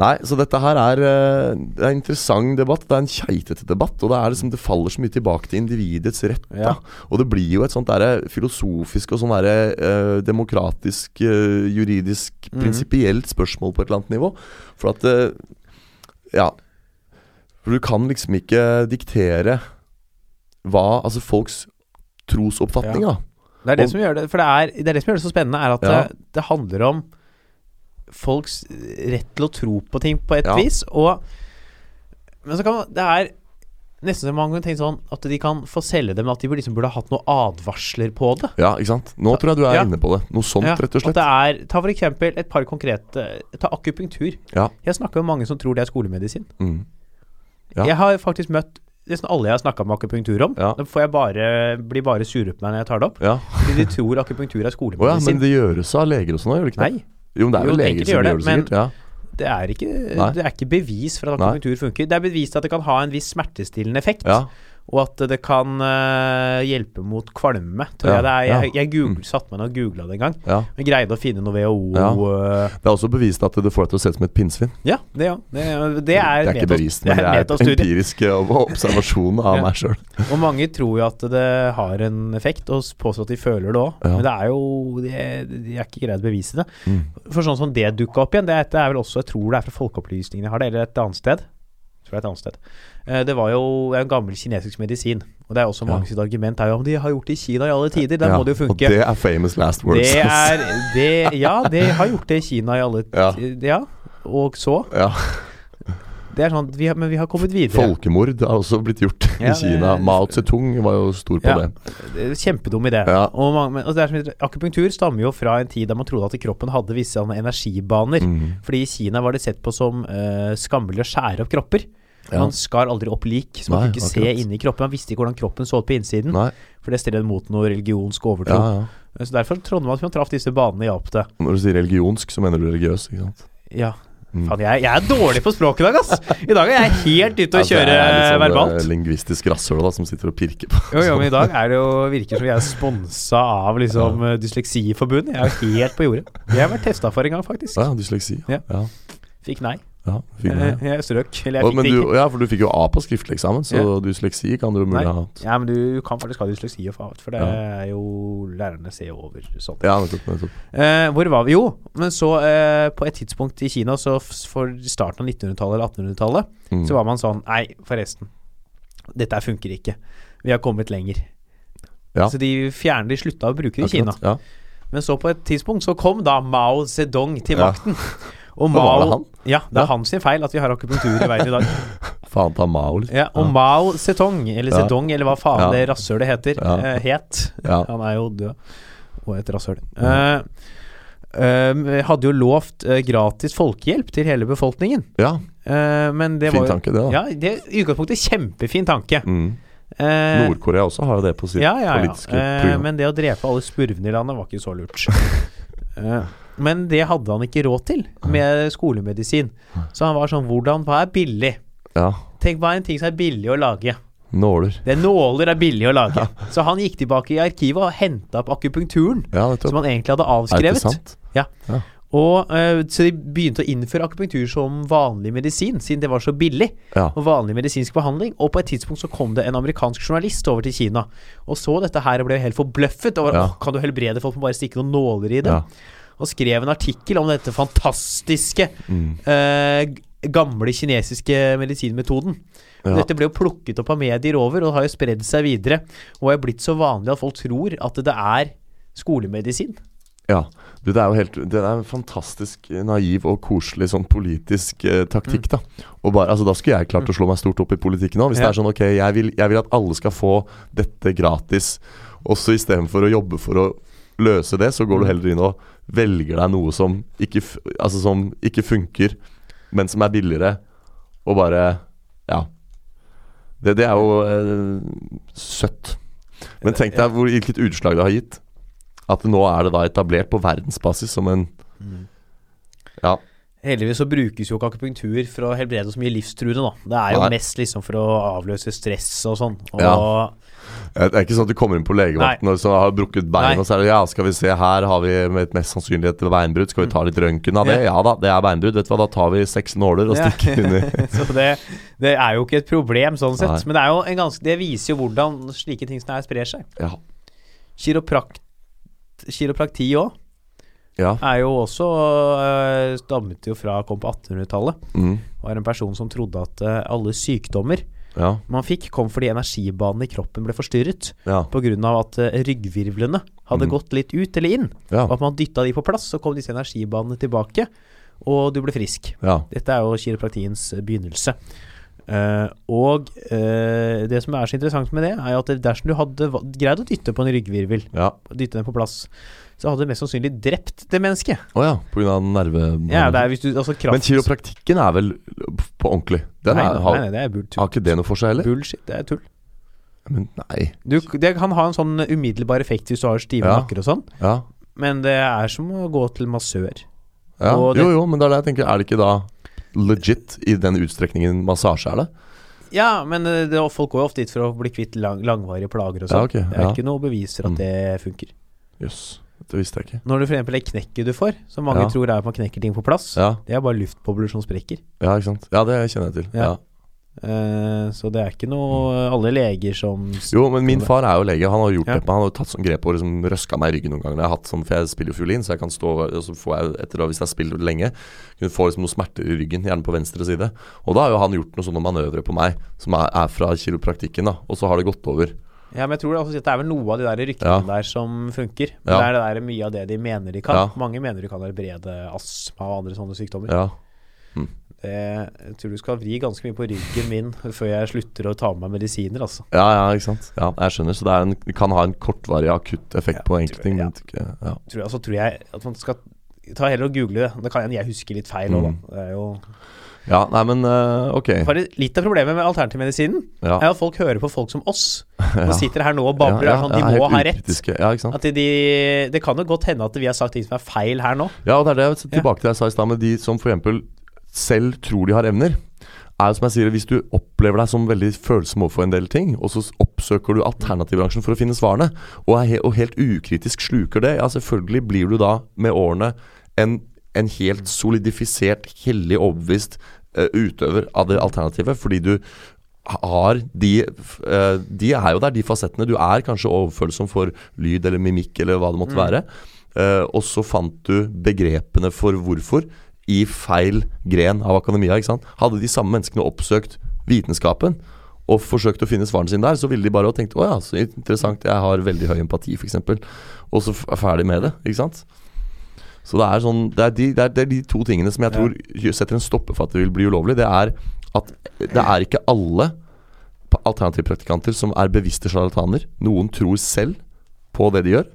Nei, så dette her er, eh, det er en interessant debatt. Det er en keitete debatt. Og det, er liksom, det faller så mye tilbake til individets rett.
Ja.
Da. Og det blir jo et sånt derre filosofisk og sånn derre eh, demokratisk, eh, juridisk,
Mhm.
prinsipielt spørsmål på et eller annet nivå. For at eh, Ja. For du kan liksom ikke diktere hva Altså folks trosoppfatning,
Ja.
da.
Det er det,
Og-
som gjør det, for det, er, det er det som gjør det så spennende, er at
Ja.
det, det handler om folks rett til å tro på ting på et
Ja.
vis. Og, men så kan man Det er nesten så mange tenker sånn at de kan få selge det, men at de liksom burde ha hatt noen advarsler på det.
Ja, ikke sant? Nå tror jeg du er
Ja.
inne på det. Noe sånt,
Ja,
Sånn, rett og
At
slett.
det er, ta for eksempel et par konkrete Ta akupunktur.
Ja.
Jeg snakker med mange som tror det er skolemedisin.
Mm. Ja.
Jeg har faktisk møtt nesten alle jeg har snakka med akupunktur om.
Ja.
Da får jeg bare, blir bare sure på meg når jeg tar det opp.
Ja.
Fordi de tror akupunktur er
Å ja, men
skolemedisin.
det gjøres av leger og sånn òg, gjør det ikke det?
Nei.
Jo, men det er
Jo, enkelte
vel leger som
gjør
gjør
det,
det, sikkert. Ja.
Det er, ikke,
Nei.
det er ikke bevis for at
Nei.
akupunktur funker. Det er bevist at det kan ha en viss smertestillende effekt,
Ja.
og at det kan øh, hjelpe mot kvalme. Tror
Ja,
jeg det er. Jeg,
ja. Mm.
jeg googl- satt meg ned og googla det en gang.
ja.
Jeg greide å finne noe WHO
Ja.
øh,
Det er også bevist at det får deg til å se ut som et pinnsvin.
Ja, det, ja. Det, det er,
det er ikke
metas-
bevist, men det er,
et metastudie.
empirisk eh, ob- observasjon av
Ja.
meg sjøl.
Og mange tror jo at det har en effekt, og s- påstår at de føler det òg.
Ja.
Men det er jo De er, de er ikke greid å bevise det.
Mm.
For sånn som det dukka opp igjen, det, er- det er vel også Jeg tror det er fra Folkeopplysningen jeg har det, eller et annet sted. Jeg tror det er et annet sted. Eh, Det var jo det er en gammel kinesisk medisin. Og det er også
Ja.
mange sitt argument er jo om de har gjort det i Kina i alle tider, da må det jo funke.
Og det er famous last words.
Det
ass.
er det, Ja, de har gjort det i Kina i alle
Ja.
tider. Ja. Og så
Ja.
Det er sånn at vi har, Men vi har kommet videre.
Folkemord har også blitt gjort
Ja,
i
det-
Kina. Mao Zedong var jo stor på
Ja.
det.
Det er Kjempedum idé.
Ja.
Og mange, men, altså det er som, akupunktur stammer jo fra en tid da man trodde at kroppen hadde visse sånne energibaner.
Mm.
Fordi i Kina var det sett på som eh, skammelig å skjære opp kropper.
Ja.
Man skar aldri opp lik, så man
Nei,
fikk ikke
akkurat.
se inni kroppen. Man visste ikke hvordan kroppen så ut på innsiden,
Nei,
for det stiller mot noe religionsk
ja,
overtro.
ja.
Så derfor trodde man at man traff disse banene i opp det.
Når du sier religionsk, så mener du religiøs, ikke sant?
Ja.
Mm.
Faen, jeg, jeg er dårlig på språk i dag, ass! I dag er jeg helt ute å
Altså, jeg
kjøre
er litt sånn, eh,
verbalt.
Lingvistisk rasshøl da, som sitter og pirker på.
Jo, jo, men i dag er det jo, virker som vi er sponsa av liksom eh, Dysleksiforbundet. Jeg er jo helt på jordet. Jeg har vært testa for en gang, faktisk.
Ja, dysleksi.
Ja.
Ja. Ja.
Fikk nei.
fikk det,
Eh,
ja.
Jeg strøk. Eller
Å,
jeg fikk
men
det
du,
ikke.
ja, for du fikk jo A på skriftlig eksamen, så dysleksi kan du jo
Nei.
mulig ha hatt.
Ja, men du kan faktisk ha dysleksi og faen, for det
Ja.
er jo lærerne ser jo over sånn.
Ja, nettopp. nettopp.
Eh, hvor var vi? Jo, men så eh, på et tidspunkt i Kina, så f- for starten av 1900-tallet eller 1800-tallet,
Mm.
så var man sånn Nei, forresten. Dette her funker ikke. Vi har kommet lenger.
Ja.
Så de fjerner De slutta å bruke det i Kina.
Akkurat, Ja.
Men så på et tidspunkt så kom da Mao Zedong til
Ja.
makten. Og
Da var det han.
Ja, det er
Ja.
han sin feil at vi har akupunktur i verden i dag.
Faen ta Mao, liksom.
Ja, og Mao Zedong, eller
Ja.
Zedong, eller hva faen
Ja.
det rasshølet heter,
Ja.
eh, het.
Ja.
Han er jo død, og et rasshøl. Eh, eh, hadde jo lovt eh, gratis folkehjelp til hele befolkningen.
ja.
Eh, men det
Fin
var jo
tanke, det, da.
Ja, det er i utgangspunktet kjempefin tanke.
Mm.
Eh,
Nord-Korea også har jo det på sitt
ja, ja, ja.
politiske
Eh,
program.
men det å drepe alle spurvene i landet var ikke så lurt. Eh, men det hadde han ikke råd til med skolemedisin. Så han var sånn Hvordan, hva er billig?
ja.
Tenk hva er en ting som er billig å lage?
Nåler.
Det er nåler er billig å lage. Så han gikk tilbake i arkivet og henta opp akupunkturen
Ja,
som
nettopp.
han egentlig hadde
Er det
avskrevet.
sant?
Og, eh, så de begynte å innføre akupunktur som vanlig medisin, siden det var så billig.
Ja.
Og vanlig medisinsk behandling. Og på et tidspunkt så kom det en amerikansk journalist over til Kina og så dette her og ble helt forbløffet. over
Ja.
«Åh, Kan du helbrede folk med bare å stikke noen nåler i det?
Ja.
Og skrev en artikkel om dette fantastiske
Mm.
eh, g- gamle kinesiske medisinmetoden.
Ja.
Dette ble jo plukket opp av medier over og har jo spredd seg videre. Og er blitt så vanlig at folk tror at det er skolemedisin.
Ja. Du, det er jo helt Det er en fantastisk eh, naiv og koselig sånn politisk eh, taktikk, da. Og bare, altså, da skulle jeg klart å slå meg stort opp i politikken òg. Hvis det
Ja.
er sånn ok, jeg vil, jeg vil at alle skal få dette gratis, og så istedenfor å jobbe for å løse det, så går du heller inn og velger deg noe som ikke, f- altså, som ikke funker, men som er billigere, og bare Ja. Det, det er jo eh, søtt. Men tenk deg hvor, hvilket utslag det har gitt. At nå er det da etablert på verdensbasis som en
Mm.
Ja.
Heldigvis så brukes jo ikke akupunktur for å helbrede så mye livstruende, da. Det er jo
Nei.
mest liksom for å avløse stress og sånn. Og
Ja. Det er ikke sånn at du kommer inn på legevakten og så har du brukket bein,
Nei.
og så er det Ja, skal vi se, her har vi med et mest sannsynlig et beinbrudd. Skal
Mm.
vi ta litt røntgen av det? Ja da, det er beinbrudd. Vet du hva, da tar vi seks nåler og
Ja.
stikker inn i
Så det, det er jo ikke et problem sånn sett.
Nei.
Men det, er jo en ganske, det viser jo hvordan slike ting som det her sprer seg.
Ja.
Kiroprakt, kiroprakti òg
ja.
er jo også øh, stammet jo fra kom på 1800-tallet.
Mm.
Var en person som trodde at øh, alle sykdommer
ja.
man fikk, kom fordi energibanene i kroppen ble forstyrret.
Ja.
Pga. at eh, ryggvirvlene hadde
Mm.
gått litt ut eller inn.
Ja.
Og at man dytta de på plass, så kom disse energibanene tilbake, og du ble frisk.
Ja.
Dette er jo kiropraktiens eh, begynnelse. Eh, og eh, det som er så interessant med det, er jo at dersom du hadde va- greid å dytte på en ryggvirvel,
Ja.
dytte den på plass, så hadde du mest sannsynlig drept det mennesket.
Å ja, på grunn av nerve...
Ja, det er hvis du, altså kraft,
Men kiropraktikken er vel på ordentlig? Den
nei,
er,
nei,
har,
nei, det er bull, tull.
har ikke det noe for seg heller?
bullshit. Det er tull.
Men nei.
Du, det kan ha en sånn umiddelbar effekt hvis du har stive
Ja.
nakker og sånn,
Ja.
men det er som å gå til massør.
ja.
Og det-
Jo, jo, men det er det jeg tenker. Er det ikke da legit i den utstrekningen massasje er det?
Ja, men eh, det, og folk går jo ofte dit for å bli kvitt lang, langvarige plager og
Ja,
sånn.
ok,
Det er
ja. Mm.
ikke noe bevis for at det funker.
Jøss, det visste jeg ikke.
Når du for eksempel det knekket du får, som mange
Ja.
tror er at man knekker ting på plass,
Ja,
det er bare luftbobler som sprekker.
ja ikke sant. Ja, det kjenner jeg til.
Ja.
Ja.
Eh, så det er ikke noe Alle leger som s-
Mm. Jo, men min far er jo lege. Han har jo gjort
Ja.
det på meg. Han har jo tatt sånn grep og liksom røska meg i ryggen noen ganger. Jeg har hatt sånn, for jeg spiller jo fiolin, så jeg kan stå og så får jeg etter å, Hvis jeg har spilt lenge, kunne få liksom noen smerter i ryggen, gjerne på venstre side. Og da har jo han gjort noen sånne manøvre på meg som er, er fra kiropraktikken, da. Og så har det gått over.
Ja, men jeg tror det, altså, at det er vel noe av de der ryktene
Ja.
der som funker. Men
Ja.
det er det der mye av det de mener de kan.
Ja.
Mange mener de kan helbrede astma og andre sånne sykdommer.
Ja.
Det, jeg tror du skal vri ganske mye på ryggen min før jeg slutter å ta med meg medisiner, altså.
Ja, ja, ikke sant. Ja, jeg skjønner. Så det er en, det kan ha en kortvarig akutt effekt
Ja,
på
tror
enkelte ting.
jeg,
men ikke- Ja.
tror, altså, tror jeg at man skal ta heller og google det. Det kan hende jeg husker litt feil òg,
Mm.
da. Det er jo
ja, nei, men eh, ok.
Bare litt av problemet med alternativmedisinen
Ja.
er at folk hører på folk som oss, som
Ja.
sitter her nå og babler. er
Ja, ja,
sånn,
ja,
de må
helt
ha rett.
ukritiske. Ja, ikke sant.
At de, de, det kan jo godt hende at vi har sagt ting som er feil her nå.
Ja, og det er det jeg vil tilbake til det jeg sa i stad, med de som f.eks. selv tror de har evner. Er jo som jeg sier, Hvis du opplever deg som veldig følsom overfor en del ting, og så s- oppsøker du alternativbransjen for å finne svarene, og, er he og helt ukritisk sluker det, ja, selvfølgelig blir du da med årene en, en helt solidifisert, hellig overbevist eh, utøver av det alternativet, fordi du har de, f- eh, de er jo der, de fasettene. Du er kanskje overfølsom for lyd eller mimikk eller hva det måtte være. Eh, og så fant du begrepene for hvorfor i feil gren av akademia. ikke sant? Hadde de samme menneskene oppsøkt vitenskapen og forsøkt å finne svarene sine der, så ville de bare og tenkt å ja, så interessant, jeg har veldig høy empati, f.eks. Og så f- er ferdig med det. ikke sant? Så det er, sånn, det, er de, det, er, det er de to tingene som jeg tror setter en stopper for at det vil bli ulovlig. Det er at det er ikke alle pa- alternativpraktikanter som er bevisste sjarlataner. Noen tror selv på det de gjør.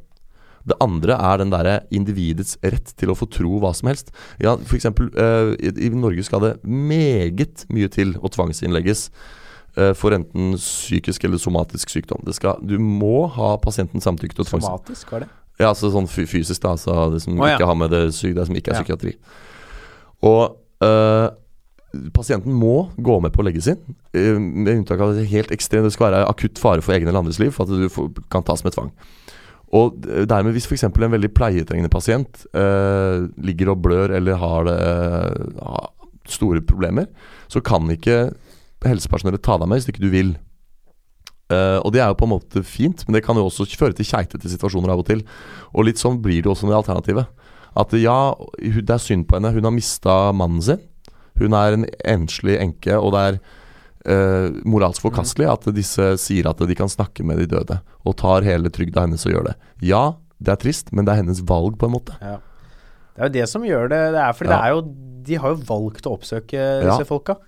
Det andre er den derre individets rett til å få tro hva som helst. Ja, for eksempel, eh, i, I Norge skal det meget mye til å tvangsinnlegges eh, for enten psykisk eller somatisk sykdom. Det skal, du må ha pasienten samtykke til å tvangsinnlegges.
Somatisk, var det.
Ja, altså sånn fy- fysisk, da. Altså det som
Å, ja.
ikke har med det syk, det som ikke er
Ja.
psykiatri. Og øh, pasienten må gå med på å legges inn, øh, med unntak av det helt ekstremt. Det skal være akutt fare for egen eller andres liv for at du får, kan tas med tvang. Og d- dermed, hvis f.eks. en veldig pleietrengende pasient eh, ligger og blør eller har det, eh, ha- store problemer, så kan ikke helsepersonellet ta deg med hvis ikke du vil. Eh, og det er jo på en måte fint, men det kan jo også føre til keitete situasjoner av og til. Og litt sånn blir det også med det alternativet. At ja, hun- det er synd på henne, hun har mista mannen sin. Hun er en enslig enke, og det er eh, moralsk forkastelig at disse sier at de kan snakke med de døde, og tar hele trygda hennes og gjør det. Ja, det er trist, men det er hennes valg, på en måte.
Ja. Det er jo det som gjør det. det er fordi
Ja.
det er jo, de har jo valgt å oppsøke disse
Ja.
folka.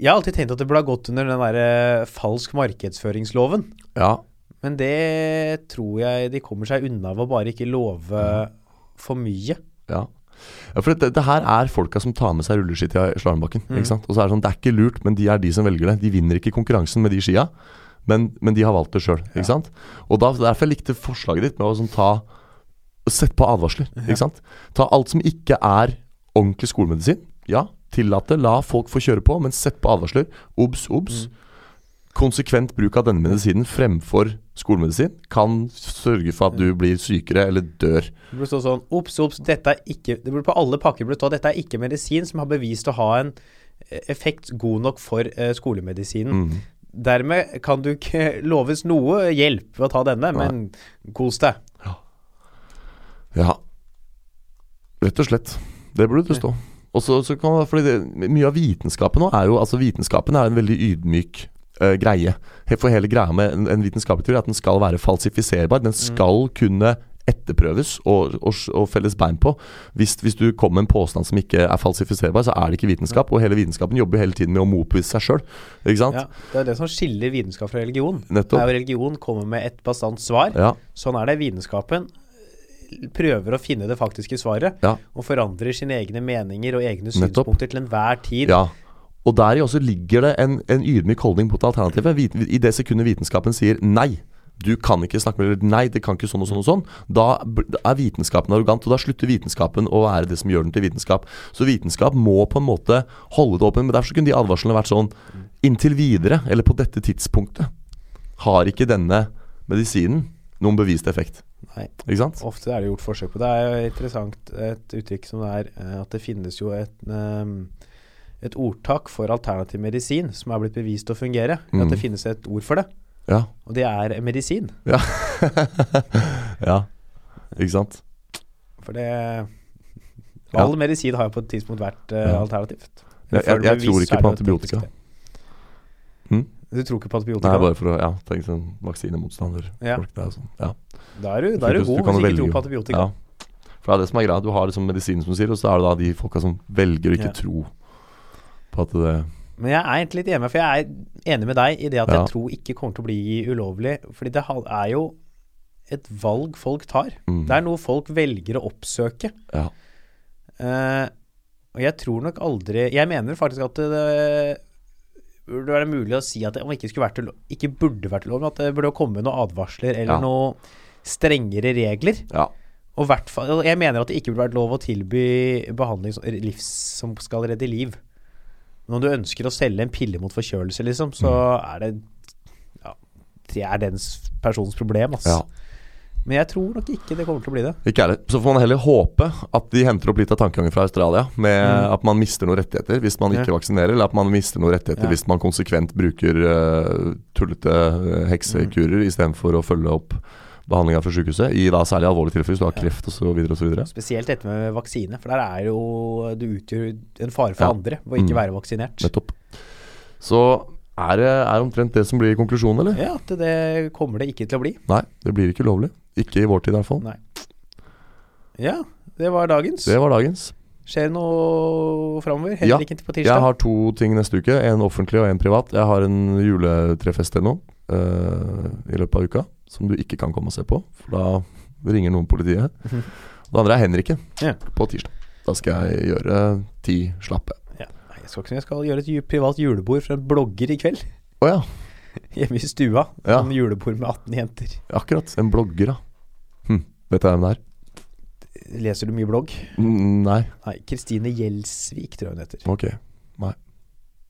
Jeg har alltid tenkt at det burde ha gått under den derre falsk markedsføringsloven.
Ja,
Men det tror jeg de kommer seg unna ved å bare ikke love for mye.
ja. ja for det, det her er folka som tar med seg rulleski til slalåmbakken.
Mm.
Ikke sant? Og så er det sånn, det er ikke lurt, men de er de som velger det. De vinner ikke konkurransen med de skia, men, men de har valgt det sjøl.
Ja.
sant? Og da, derfor jeg likte forslaget ditt med å sånn ta Sett på advarsler. ikke sant? Ta alt som ikke er ordentlig skolemedisin. Ja, tillat det. La folk få kjøre på, men sett på advarsler. Obs, obs.
Mm.
Konsekvent bruk av denne medisinen fremfor skolemedisin kan sørge for at du blir sykere eller dør.
Det burde stå sånn Ops, ops, dette er ikke Det burde på alle pakker burde stå dette er ikke medisin som har bevist å ha en eh, effekt god nok for eh, skolemedisinen.
Mm.
Dermed kan du ikke loves noe hjelp ved å ta denne, men kos deg.
Ja. Rett og slett. Det burde det stå. Og så, så kan man, fordi det, Mye av vitenskapen nå er jo Altså Vitenskapen er en veldig ydmyk eh, greie. He- For hele greia med en, en vitenskapelig teori er at den skal være falsifiserbar. Den skal kunne etterprøves og, og, s- og felles bein på. Hvis, hvis du kommer med en påstand som ikke er falsifiserbar, så er det ikke vitenskap. Og hele vitenskapen jobber hele tiden med å motbevise seg sjøl. Ikke sant?
Ja, det er det som skiller vitenskap fra religion. Det
Nettopp.
er jo religion kommer med et bastant svar.
Ja.
Sånn er det. Vitenskapen eh, prøver å finne det faktiske svaret,
Ja.
og forandrer sine egne meninger og egne
Nettopp.
synspunkter til enhver tid.
Ja. Og deri også ligger det en, en ydmyk holdning mot alternativet. Vit- I det sekundet vitenskapen sier nei, du kan ikke snakke med eller nei, det kan ikke sånn og sånn og sånn, da bl- da er vitenskapen arrogant, og da slutter vitenskapen å være det som gjør den til vitenskap. Så vitenskap må på en måte holde det åpen, men derfor så kunne de advarslene vært sånn inntil videre, eller på dette tidspunktet, har ikke denne medisinen noen bevist effekt.
Nei.
Ikke sant?
Ofte er det gjort forsøk på. Det er jo interessant et uttrykk som det er eh, at det finnes jo et, ehm, et ordtak for alternativ medisin som er blitt bevist å fungere.
Mm.
At det finnes et ord for det,
Ja.
og det er medisin.
Ja. ja. Ikke sant?
For det
Ja.
All medisin har jo på et tidspunkt vært eh,
Ja.
alternativt.
Jeg, jeg, jeg tror ikke på antibiotika. Hm?
Du tror ikke på
Nei,
antibiotika?
bare for å ja, tenke sånn vaksinemotstander.
Ja.
Folk, det er jo sånn. ja.
da er du, da er du
Du
god hvis ikke
kan jo
tror
velge.
på antibiotika.
ja. For det er det som er greia. Du har liksom medisinen som du sier, og så er det da de folka som velger å ikke
Ja.
tro på at det
Men jeg er egentlig litt enig, med- for jeg er enig med deg i det at
Ja.
jeg tror ikke kommer til å bli ulovlig. Fordi det ha- er jo et valg folk tar.
mm,
Det er noe folk velger å oppsøke.
Ja.
Eh, og jeg tror nok aldri Jeg mener faktisk at det, burde være mulig å si at det om ikke, skulle vært ulo- ikke burde vært ulovlig, men at det burde komme noen advarsler eller
Ja.
noen strengere regler.
ja.
Og hvert fall, og jeg mener at det ikke burde vært lov å tilby behandling som, livs, som skal redde liv. Men om du ønsker å selge en pille mot forkjølelse, liksom, så
Mm.
er det ja, Det er den s- persons problem, ass.
Ja.
Men jeg tror nok ikke det kommer til å bli det.
Ikke ærlig. Så får man heller håpe at de henter opp litt av tankegangen fra Australia, med
Mm.
at man mister noen rettigheter hvis man ikke
Ja.
vaksinerer, eller at man mister noen rettigheter
Ja.
hvis man konsekvent bruker øh, tullete øh,
Mm.
heksekurer istedenfor å følge opp behandlinga fra sykehuset, i da særlig alvorlige tilfeller, hvis du har
Ja.
kreft osv. videre
Spesielt dette med vaksine, for der er jo du utgjør en fare for
Ja.
andre ved å ikke
Mm.
være vaksinert.
Nettopp. Så er det er omtrent det som blir konklusjonen, eller?
Ja, at det kommer det ikke til å bli.
Nei, det blir ikke lovlig. Ikke i vår tid i hvert fall.
Nei. Ja, det var dagens.
Det var dagens.
Skjer noe framover?
Ja.
Heller ikke på tirsdag?
Jeg har to ting neste uke. En offentlig og en privat. Jeg har en juletrefest ennå eh, i løpet av uka som du ikke kan komme og se på, for da ringer noen politiet.
Mhm.
Og det andre er Henrikke
Ja.
på tirsdag. Da skal jeg gjøre ti slappe.
Ja. Nei, Jeg skal, ikke, jeg skal gjøre et ju- privat julebord for en blogger i kveld.
Å ja,
Hjemme i stua.
Ja.
Sånn julebord med 18 jenter.
akkurat. En blogger, da. Hm, vet jeg hvem det er?
Leser du mye blogg?
Mm, nei.
Nei, Kristine Gjelsvik tror jeg hun heter.
Ok.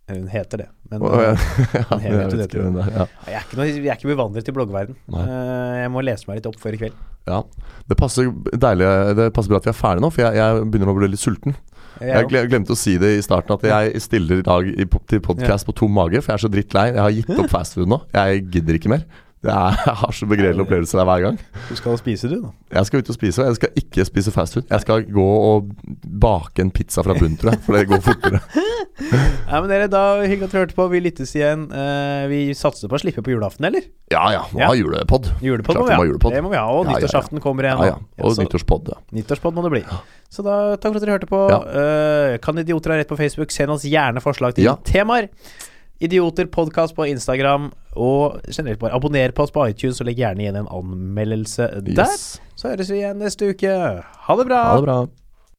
Eller hun heter det. Men
Å, ja. Ja,
Men jeg vet jo
vet
dette.
ikke hvem det er, ja.
jeg, er ikke noe, jeg er ikke bevandret i bloggverden.
Nei.
Eh, jeg må lese meg litt opp før i kveld.
Ja. Det passer deilig Det passer bra at vi er ferdige nå, for jeg, jeg begynner å bli litt sulten. Jeg
Jeg,
gle- glemte å si det i starten, at jeg stiller i dag i pop til podkast på tom mage, for jeg er så drittlei. Jeg har gitt opp fastfood nå. Jeg gidder ikke mer. Det er, jeg har så begredelige opplevelser der hver gang.
du skal spise, du, nå.
Jeg skal ut og spise, og jeg skal ikke spise fastfood. Jeg skal gå og bake en pizza fra bunnen, tror jeg, for det går fortere.
Nei, men dere, da Hyggelig at dere hørte på. Vi lyttes igjen. Eh, vi satser på å slippe på julaften, eller?
Ja ja, må
Ja.
ha julepod.
Julepod
Klart
må vi ha.
vi må ha julepod.
Det må vi ha. Og
Ja, ja, ja.
nyttårsaften kommer igjen.
Ja ja.
nå.
Og
så,
nyttårspod, ja.
nyttårspod må det bli. Så da takk for at dere hørte på.
Ja.
Eh, kan idioter ha rett på Facebook? Send oss gjerne forslag til
Ja.
temaer. Idioter podcast på Instagram. Og generelt bare abonner på oss på iTunes, og legg gjerne igjen en anmeldelse der.
Yes.
Så høres vi igjen neste uke. Ha det bra.
Ha det bra.